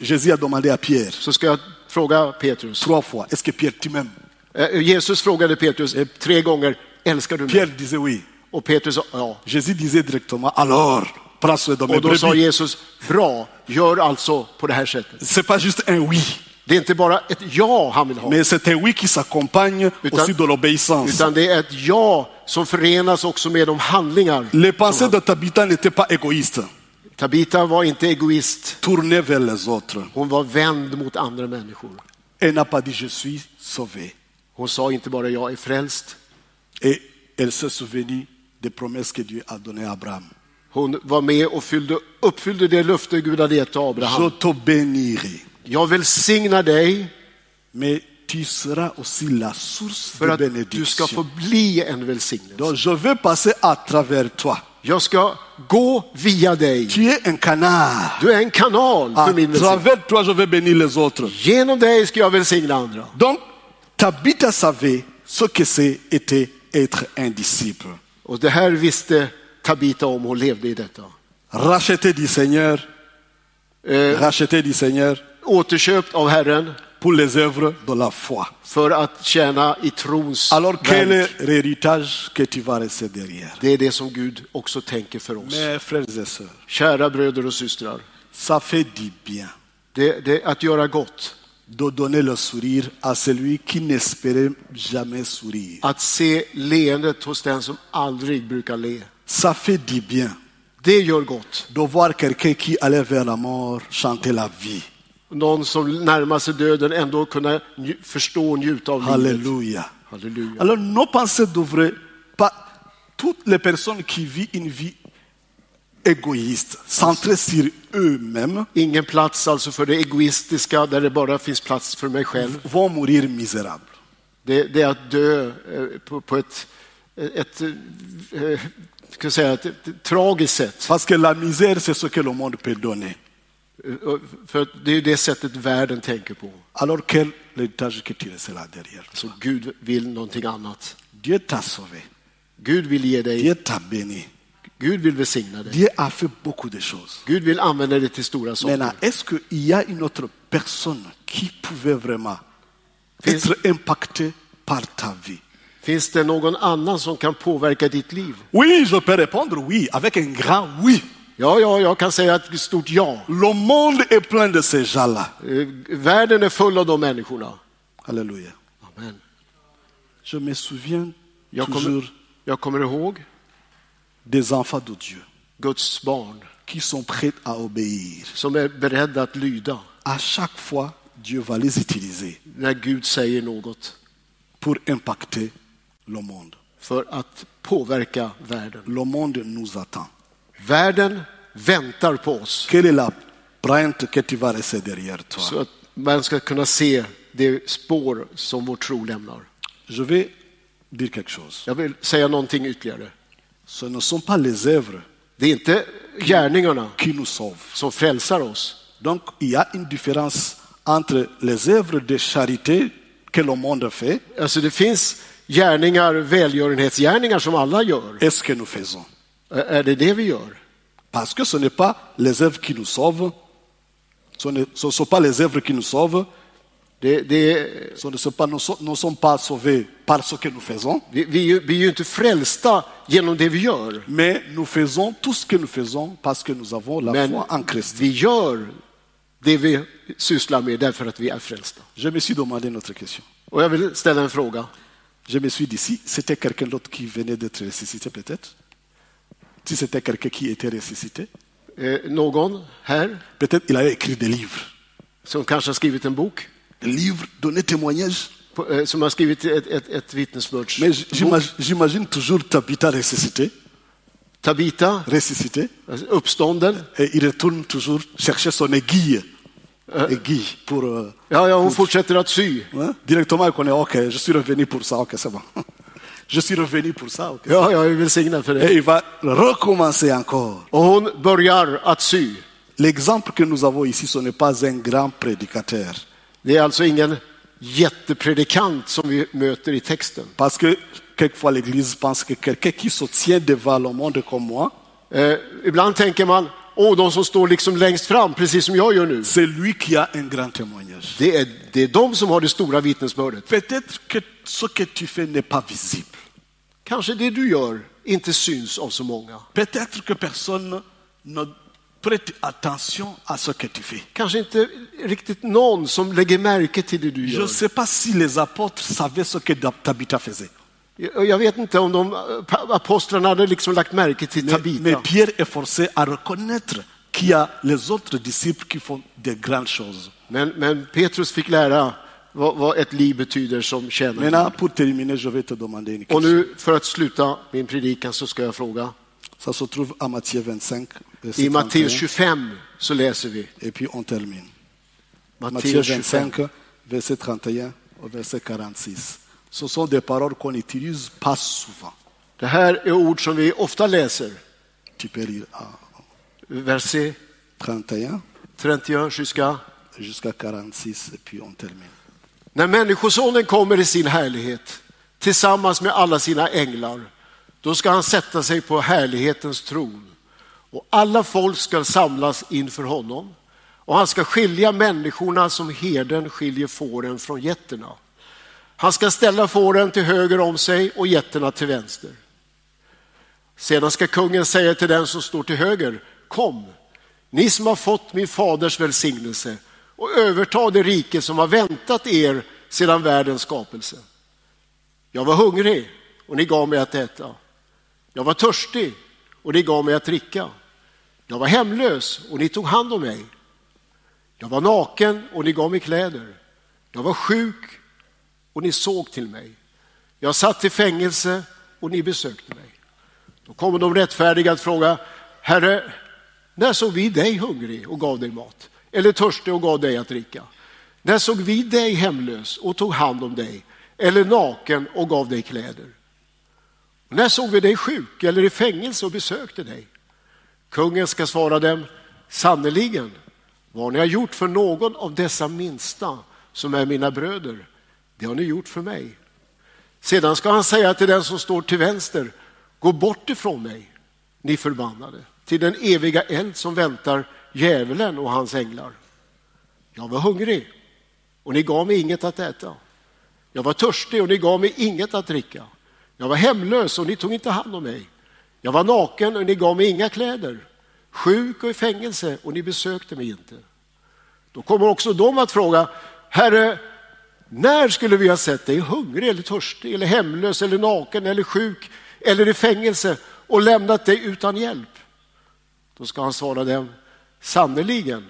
Speaker 1: Jésus a demandé à Pierre
Speaker 2: så ska jag fråga Petrus.
Speaker 1: trois fois Est-ce que Pierre, tu m'aimes
Speaker 2: Eh, Jesus frågade Petrus eh, tre gånger, älskar du mig?
Speaker 1: Pierre disait oui.
Speaker 2: Och Petrus sa, ja.
Speaker 1: Jésus disait directement Alors, prends soin de mes
Speaker 2: Och då sa
Speaker 1: brebis.
Speaker 2: Jesus, bra, gör alltså på det här sättet.
Speaker 1: C'est pas juste un oui,
Speaker 2: Det är inte bara ett ja han vill ha.
Speaker 1: mais c'est un oui qui s'accompagne
Speaker 2: Utan-
Speaker 1: aussi de l'obéissance.
Speaker 2: Utan det är ett ja som förenas också med de handlingar.
Speaker 1: Les pensées de Tabitha n'étaient pas égoïstes,
Speaker 2: Tabita var inte egoist.
Speaker 1: tournées vers les autres.
Speaker 2: Hon var vänd mot andra människor.
Speaker 1: Elle n'a pas dit Je suis sauvé.
Speaker 2: Hon sa inte bara jag är frälst.
Speaker 1: Et elle se souvenue des promesses que Dieu a données à Abraham.
Speaker 2: Hon var med och fyllde, uppfyllde det löfte Gud hade gett till
Speaker 1: Je
Speaker 2: Abraham.
Speaker 1: te bénirai.
Speaker 2: Jag välsignar dig,
Speaker 1: Mais tu seras aussi la source
Speaker 2: För
Speaker 1: de
Speaker 2: att du
Speaker 1: bénédiction.
Speaker 2: ska få bli en välsignelse.
Speaker 1: Donc je veux passer à travers toi.
Speaker 2: Jag ska gå via dig.
Speaker 1: Tu es un canard.
Speaker 2: Du är en kanal
Speaker 1: À
Speaker 2: för min välsignelse.
Speaker 1: travers toi, je vais bénir les autres.
Speaker 2: Genom dig ska jag välsigna andra.
Speaker 1: Donc, Tabitha savait ce que c'est était être un disciple.
Speaker 2: Och det här visste Tabita om, hon levde i detta.
Speaker 1: Racheté du Seigneur,
Speaker 2: Eh,
Speaker 1: racheté du Seigneur
Speaker 2: återköpt av Herren
Speaker 1: pour les œuvres de la foi.
Speaker 2: för att tjäna i trons
Speaker 1: Alors, quel
Speaker 2: verk.
Speaker 1: est l'héritage que tu vas rester derrière
Speaker 2: Det är det som Gud också tänker för oss.
Speaker 1: Mes frères et sœurs,
Speaker 2: Kära bröder och systrar,
Speaker 1: ça fait du bien
Speaker 2: det, det, att göra gott,
Speaker 1: de donner le sourire à celui qui n'espérait jamais sourire.
Speaker 2: att se leendet hos den som aldrig brukar le,
Speaker 1: Ça fait du bien
Speaker 2: det gör gott.
Speaker 1: de voir quelqu'un qui allait vers la mort chanter la vie.
Speaker 2: Någon som närmar sig döden ändå kunna nju- förstå och njuta av livet.
Speaker 1: Alléluia.
Speaker 2: Halleluja.
Speaker 1: Alors nos pensées devraient pas toutes les personnes qui vivent une vie égoïste, centrée sur eux-mêmes,
Speaker 2: Ingen plats alltså för det egoistiska där det bara finns plats för mig själv.
Speaker 1: vont mourir misérables.
Speaker 2: Det, det är att dö eh, på, på ett, ett, eh, eh, ska jag säga, ett, ett tragiskt sätt.
Speaker 1: Parce que la misère, c'est ce que le monde peut donner.
Speaker 2: Eh, och För att det är ju det sättet världen tänker på.
Speaker 1: Alors quel héritage que tu laisses là derrière
Speaker 2: Så Gud vill någonting annat.
Speaker 1: Dieu t'a sauvé.
Speaker 2: Gud vill ge dig,
Speaker 1: Dieu t'a béni.
Speaker 2: Gud vill välsigna dig.
Speaker 1: Dieu a fait beaucoup de choses.
Speaker 2: Gud vill använda dig till stora
Speaker 1: Maintenant,
Speaker 2: saker.
Speaker 1: est-ce qu'il y a une autre personne qui pouvait vraiment
Speaker 2: Finns-
Speaker 1: être impactée par ta vie
Speaker 2: Finns det någon annan som kan påverka ditt liv?
Speaker 1: Oui, je peux répondre oui, avec un grand oui.
Speaker 2: Ja, ja, jag kan säga ett stort ja.
Speaker 1: Le monde est plein de ces gens-là.
Speaker 2: Eh, Världen är full av de människorna.
Speaker 1: Alléluia.
Speaker 2: Amen.
Speaker 1: Je me souviens
Speaker 2: Jag
Speaker 1: toujours
Speaker 2: kommer, jag kommer ihåg
Speaker 1: des enfants de Dieu
Speaker 2: Guds barn
Speaker 1: qui sont prêts à obéir.
Speaker 2: som är beredda att lyda
Speaker 1: À chaque fois, Dieu va les utiliser
Speaker 2: när Gud säger något
Speaker 1: pour impacter le monde.
Speaker 2: för att påverka världen.
Speaker 1: Le monde nous attend.
Speaker 2: Världen väntar på oss
Speaker 1: Quelle est la plainte que tu vas laisser derrière toi
Speaker 2: så att man ska kunna se det spår som vår tro lämnar.
Speaker 1: Je vais dire quelque chose.
Speaker 2: Jag vill säga någonting ytterligare.
Speaker 1: Ce ne sont pas les œuvres
Speaker 2: Det är inte gärningarna
Speaker 1: qui nous sauvent.
Speaker 2: som frälsar oss.
Speaker 1: Donc, il y a une différence entre les œuvres de charité que le monde fait
Speaker 2: Alltså det finns gärningar, välgörenhetsgärningar som alla gör.
Speaker 1: et ce que nous faisons.
Speaker 2: Ä- Är det det vi gör?
Speaker 1: Parce que ce n'est pas les œuvres qui nous sauvent, ce ne ce ne sont pas les œuvres qui nous sauvent,
Speaker 2: Det, det,
Speaker 1: ce ne sont pas, nous ne sommes pas sauvés par ce que nous faisons,
Speaker 2: vi, vi, är ju- vi är ju inte frälsta genom det vi gör.
Speaker 1: mais nous faisons tout ce que nous faisons parce que nous avons la
Speaker 2: Men
Speaker 1: foi en Christ.
Speaker 2: vi gör det vi sysslar med därför att vi är frälsta.
Speaker 1: Je me suis demandé une autre question.
Speaker 2: Och jag vill ställa en fråga.
Speaker 1: Je me suis dit, si c'était quelqu'un d'autre qui venait d'être ressuscité, peut-être, si c'était quelqu'un qui était ressuscité,
Speaker 2: Eh, någon här
Speaker 1: peut-être il avait écrit des livres.
Speaker 2: som kanske har skrivit en bok,
Speaker 1: Des livres, donné témoignage.
Speaker 2: på- eh, som har skrivit ett, ett, ett vittnesbörds...
Speaker 1: Mais j'imagine j'imagine toujours Tabitha ressuscité,
Speaker 2: Tabita,
Speaker 1: ressuscité,
Speaker 2: alltså uppstånden.
Speaker 1: Et il retourne toujours chercher son aiguille. Aiguille pour. euh,
Speaker 2: Ja, ja, hon fortsätter att sy.
Speaker 1: hein, directement, elle connaît, ok, je suis revenu pour ça, ok, c'est bon. je suis revenu pour ça, ok.
Speaker 2: Ja, jag är välsignad för det.
Speaker 1: Et il va recommencer encore.
Speaker 2: Och hon börjar att sy.
Speaker 1: L'exemple que nous avons ici, ce n'est pas un grand prédicateur.
Speaker 2: Det är alltså ingen jättepredikant som vi möter i texten.
Speaker 1: Parce que quelquefois l'Église pense que quelqu'un qui se tient devant le monde comme moi,
Speaker 2: Eh, ibland tänker man, åh, de som står liksom längst fram, precis som jag gör nu.
Speaker 1: c'est lui qui a un grand témoignage.
Speaker 2: Det är, det är de som har det stora vittnesbördet.
Speaker 1: Peut-être que ce que tu fais n'est pas visible.
Speaker 2: Kanske det du gör inte syns av så många.
Speaker 1: Peut-être que personne ne prête attention à ce que tu fais.
Speaker 2: Kanske inte riktigt någon som lägger märke till det du
Speaker 1: Je ne
Speaker 2: gör.
Speaker 1: sais pas si les apôtres savaient ce que Tabitha faisait.
Speaker 2: Jag jag vet inte om de eh, apostlarna hade liksom lagt märke till
Speaker 1: Mais, mais
Speaker 2: Tabita.
Speaker 1: Pierre est forcé à reconnaître qu'il y a les autres disciples qui font de grandes choses.
Speaker 2: Men, men Petrus fick lära vad, vad ett liv betyder som tjänare.
Speaker 1: Maintenant, pour terminer, je vais te demander une
Speaker 2: Och
Speaker 1: question.
Speaker 2: nu för att sluta min predikan så ska jag fråga.
Speaker 1: Ça se trouve à Matthieu 25. verset
Speaker 2: I Matteus
Speaker 1: 31,
Speaker 2: 25 så läser vi.
Speaker 1: Et puis on termine. Matthieu
Speaker 2: Matteus 25.
Speaker 1: 25, verset 31 au verset 46. Ce sont des paroles qu'on n'utilise pas souvent.
Speaker 2: Det här är ord som vi ofta läser.
Speaker 1: Tu peux lire ah,
Speaker 2: Verset
Speaker 1: 31
Speaker 2: 31 jusqu'à
Speaker 1: jusqu'à 46 et puis on termine.
Speaker 2: När människosonen kommer i sin härlighet tillsammans med alla sina änglar, då ska han sätta sig på härlighetens tron. Och alla folk ska samlas inför honom. Och han ska skilja människorna som herden skiljer fåren från getterna. Han ska ställa fåren till höger om sig och getterna till vänster. Sedan ska kungen säga till den som står till höger, kom, ni som har fått min faders välsignelse och överta det rike som har väntat er sedan världens skapelse. Jag var hungrig och ni gav mig att äta. Jag var törstig och ni gav mig att dricka. Jag var hemlös och ni tog hand om mig. Jag var naken och ni gav mig kläder. Jag var sjuk och ni såg till mig. Jag satt i fängelse och ni besökte mig. Då kommer de rättfärdiga att fråga, Herre, när såg vi dig hungrig och gav dig mat? Eller törstig och gav dig att dricka? När såg vi dig hemlös och tog hand om dig? Eller naken och gav dig kläder? När såg vi dig sjuk eller i fängelse och besökte dig? Kungen ska svara dem, sannerligen, vad ni har gjort för någon av dessa minsta som är mina bröder, det har ni gjort för mig. Sedan ska han säga till den som står till vänster, gå bort ifrån mig, ni förbannade, till den eviga eld som väntar djävulen och hans änglar. Jag var hungrig och ni gav mig inget att äta. Jag var törstig och ni gav mig inget att dricka. Jag var hemlös och ni tog inte hand om mig. Jag var naken och ni gav mig inga kläder. Sjuk och i fängelse och ni besökte mig inte. Då kommer också de att fråga, Herre, när skulle vi ha sett dig hungrig eller törstig eller hemlös eller naken eller sjuk eller i fängelse och lämnat dig utan hjälp? Då ska han svara dem, sannerligen,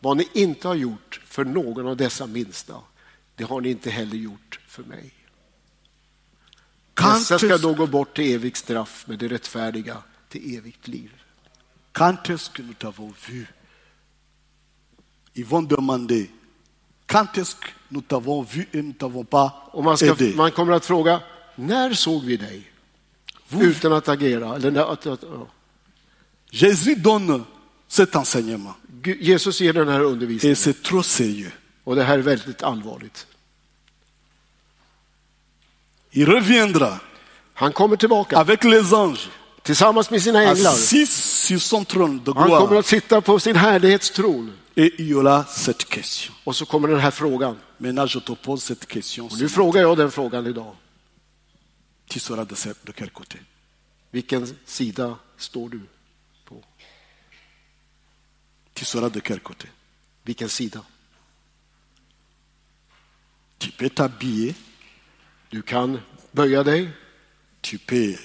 Speaker 2: vad ni inte har gjort för någon av dessa minsta, det har ni inte heller gjort för mig. Dessa ska då gå bort till evigt straff, men det rättfärdiga till evigt liv.
Speaker 1: Quand est-ce que nous t'avons vu Ils vont demander quand est-ce que nous t'avons vu et nous ne t'avons pas
Speaker 2: Och man, ska,
Speaker 1: aidé.
Speaker 2: man kommer att fråga, när såg vi dig? Utan att agera. Eller när, att, att, ja.
Speaker 1: Jésus donne cet enseignement
Speaker 2: Gud- Jesus ger den här
Speaker 1: et
Speaker 2: undervisningen
Speaker 1: c'est trop sérieux.
Speaker 2: och det här är väldigt allvarligt.
Speaker 1: Il reviendra
Speaker 2: Han kommer tillbaka
Speaker 1: avec les anges,
Speaker 2: tillsammans med sina änglar.
Speaker 1: assis sur son trône de
Speaker 2: Han kommer
Speaker 1: gloire,
Speaker 2: att sitta på sin härlighetstron
Speaker 1: et il y aura cette question.
Speaker 2: och så kommer den här frågan.
Speaker 1: Maintenant, je te pose cette question.
Speaker 2: Och nu frågar jag den frågan idag.
Speaker 1: Tu seras de, ce- de quel côté
Speaker 2: Vilken sida står du på?
Speaker 1: Tu seras de quel côté
Speaker 2: Vilken sida?
Speaker 1: Tu peux t'habiller,
Speaker 2: Du kan böja dig
Speaker 1: tu peux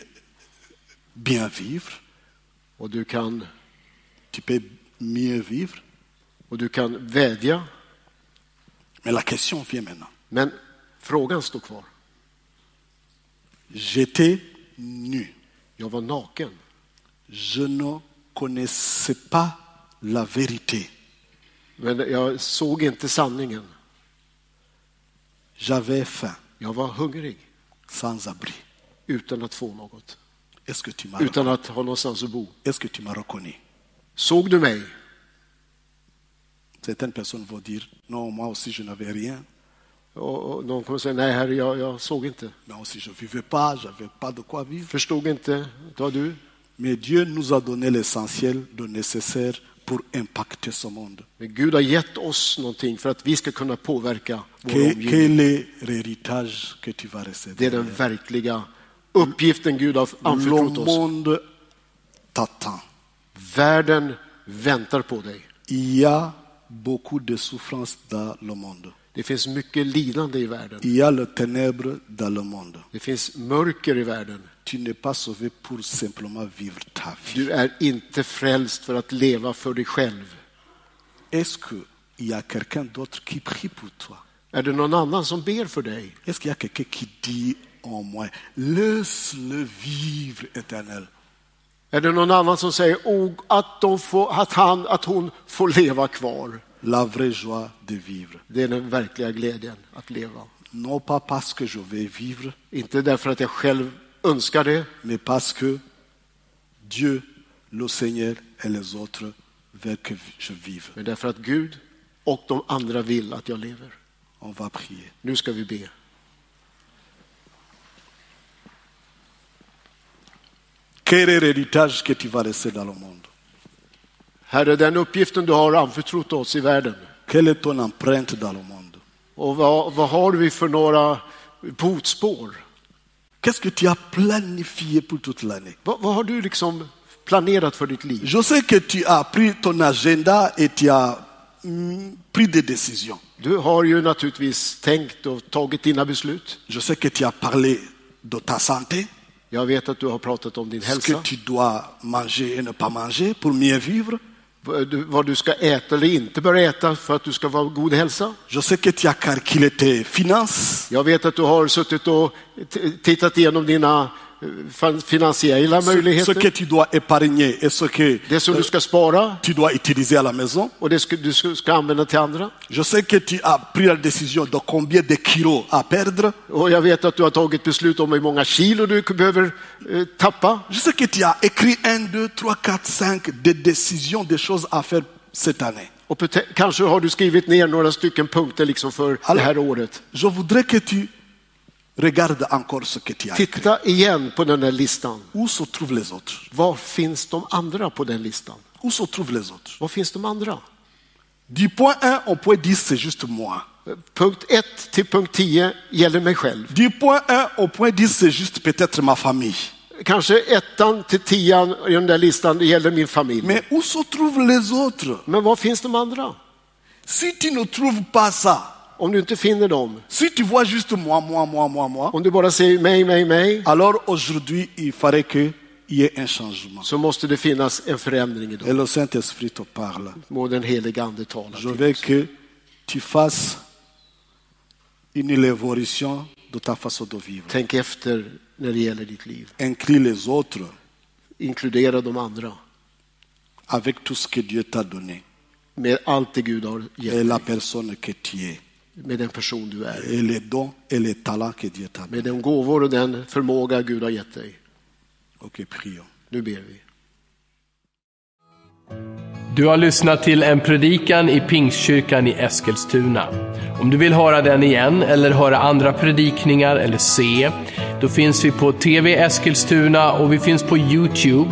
Speaker 1: bien vivre,
Speaker 2: och du kan,
Speaker 1: tu peux mieux vivre,
Speaker 2: och du kan vädja,
Speaker 1: mais la question vient maintenant.
Speaker 2: men frågan står kvar.
Speaker 1: J'étais nu.
Speaker 2: Jag var naken.
Speaker 1: Je ne connaissais pas la vérité.
Speaker 2: Men jag såg inte sanningen.
Speaker 1: J'avais faim,
Speaker 2: Jag var hungrig
Speaker 1: sans abri.
Speaker 2: utan att få något.
Speaker 1: Est-ce que tu m'as
Speaker 2: Utan att ha någonstans att bo.
Speaker 1: est-ce que tu m'as reconnu
Speaker 2: Såg du mig?
Speaker 1: Certaines personnes vont dire non, moi aussi je n'avais rien,
Speaker 2: Och, och någon kommer säga, nej herre, jag, jag såg inte.
Speaker 1: mais aussi je vivais pas, j'avais pas de quoi vivre.
Speaker 2: Förstod inte. Det var du.
Speaker 1: Mais Dieu nous a donné l'essentiel, le nécessaire pour impacter ce monde.
Speaker 2: Men Gud har gett oss någonting för att vi ska kunna påverka vår
Speaker 1: Que-
Speaker 2: omgivning.
Speaker 1: quel est l'héritage que tu vas
Speaker 2: Det
Speaker 1: recevoir
Speaker 2: är den verkliga uppgiften Gud har anförtrott
Speaker 1: Le
Speaker 2: oss.
Speaker 1: monde t'attend.
Speaker 2: Världen väntar på dig.
Speaker 1: Il y a beaucoup de souffrances dans le monde.
Speaker 2: Det finns mycket lidande i världen.
Speaker 1: Il y a le ténèbre dans le monde.
Speaker 2: Det finns mörker i världen.
Speaker 1: Tu n'es pas sauvé pour simplement vivre ta vie.
Speaker 2: Du är inte frälst för att leva för dig själv.
Speaker 1: Est-ce qu'il y a quelqu'un d'autre qui prie pour toi
Speaker 2: Är det någon annan som ber för dig?
Speaker 1: Est-ce qu'il y a quelqu'un qui dit en moi, laisse-le vivre éternel
Speaker 2: Är det någon annan som säger oh, att, de får, att, han, att hon får leva kvar?
Speaker 1: la vraie joie de vivre.
Speaker 2: Det är den verkliga glädjen att leva.
Speaker 1: Non pas parce que je vais vivre,
Speaker 2: Inte därför att jag själv önskar det,
Speaker 1: mais parce que Dieu, le Seigneur et les autres veulent que je vive.
Speaker 2: men därför att Gud och de andra vill att jag lever.
Speaker 1: On va prier.
Speaker 2: Nu ska vi be.
Speaker 1: Quel est l'héritage que tu vas laisser dans le monde
Speaker 2: Herre, den uppgiften du har anförtrott oss i världen,
Speaker 1: Quelle est ton empreinte dans le monde
Speaker 2: och vad, vad har vi för några fotspår?
Speaker 1: Qu'est-ce que tu as planifié pour toute l'année
Speaker 2: Vad, vad har du liksom planerat för ditt liv?
Speaker 1: Je sais que tu as pris ton agenda et tu as mm, pris des décisions.
Speaker 2: Du har ju naturligtvis tänkt och tagit dina beslut.
Speaker 1: Je sais que tu as parlé de ta santé,
Speaker 2: Jag vet att du har pratat om din
Speaker 1: ce que
Speaker 2: hälsa,
Speaker 1: tu dois manger et ne pas manger pour mieux vivre.
Speaker 2: du- vad du ska äta eller inte bör äta för att du ska vara god hälsa.
Speaker 1: Je sais que tu as calculé tes finances,
Speaker 2: Jag vet att du har suttit och t- tittat igenom dina eh, fin-
Speaker 1: ce,
Speaker 2: finansiella
Speaker 1: ce que
Speaker 2: möjligheter,
Speaker 1: tu dois épargner et ce que
Speaker 2: det som
Speaker 1: euh,
Speaker 2: du ska spara
Speaker 1: tu dois utiliser à la maison.
Speaker 2: och det ska, du ska ska använda till andra.
Speaker 1: Je sais que tu as pris la décision de combien de kilos à perdre.
Speaker 2: Och jag vet att du har tagit beslut om hur många kilo du behöver eh, tappa.
Speaker 1: Je sais que tu as écrit 1, 2, 3, 4, 5 des décisions, des choses à faire cette année.
Speaker 2: Och pute- kanske har du skrivit ner några stycken punkter liksom för
Speaker 1: Alla-
Speaker 2: det här året.
Speaker 1: Je voudrais que tu regardes encore ce que tu as. écrit.
Speaker 2: Titta igen på den där listan.
Speaker 1: Où se trouvent les autres
Speaker 2: Var finns de andra på den listan?
Speaker 1: Où se trouvent les autres
Speaker 2: Var finns de andra?
Speaker 1: Du point 1, on pourrait dire c'est juste moi.
Speaker 2: Eh, Punkt 1 till punkt 10 gäller mig själv.
Speaker 1: Du point 1, on pourrait dire c'est juste peut-être ma famille.
Speaker 2: Kanske ettan till tian i den där listan det gäller min familj. Men,
Speaker 1: Mais où se trouvent les autres
Speaker 2: var finns de andra?
Speaker 1: Si tu ne trouves pas ça,
Speaker 2: Om du inte finner dem,
Speaker 1: si tu vois juste moi, moi, moi, moi, moi,
Speaker 2: om du bara säger mig, mig, mig,
Speaker 1: alors aujourd'hui, il faudrait qu'il y ait un changement.
Speaker 2: så måste det finnas en förändring idag.
Speaker 1: Et le Saint-Esprit te parle.
Speaker 2: Må den helige Ande tala
Speaker 1: Je
Speaker 2: till
Speaker 1: veux que tu fasses une évolution de ta façon de vivre.
Speaker 2: Tänk efter när det gäller ditt liv.
Speaker 1: Inclus les autres
Speaker 2: Inkludera de andra
Speaker 1: avec tout ce que Dieu t'a donné
Speaker 2: med allt det Gud har
Speaker 1: et
Speaker 2: gett,
Speaker 1: la personne que tu es
Speaker 2: med den person du är,
Speaker 1: et les dons et les talents que Dieu t'a
Speaker 2: med
Speaker 1: donnés.
Speaker 2: den gåvor och den förmåga Gud har gett dig.
Speaker 1: Ok, prions.
Speaker 2: Nu ber vi.
Speaker 4: Du har lyssnat till en predikan i Pingstkyrkan i Eskilstuna. Om du vill höra den igen eller höra andra predikningar eller se, då finns vi på TV Eskilstuna och vi finns på Youtube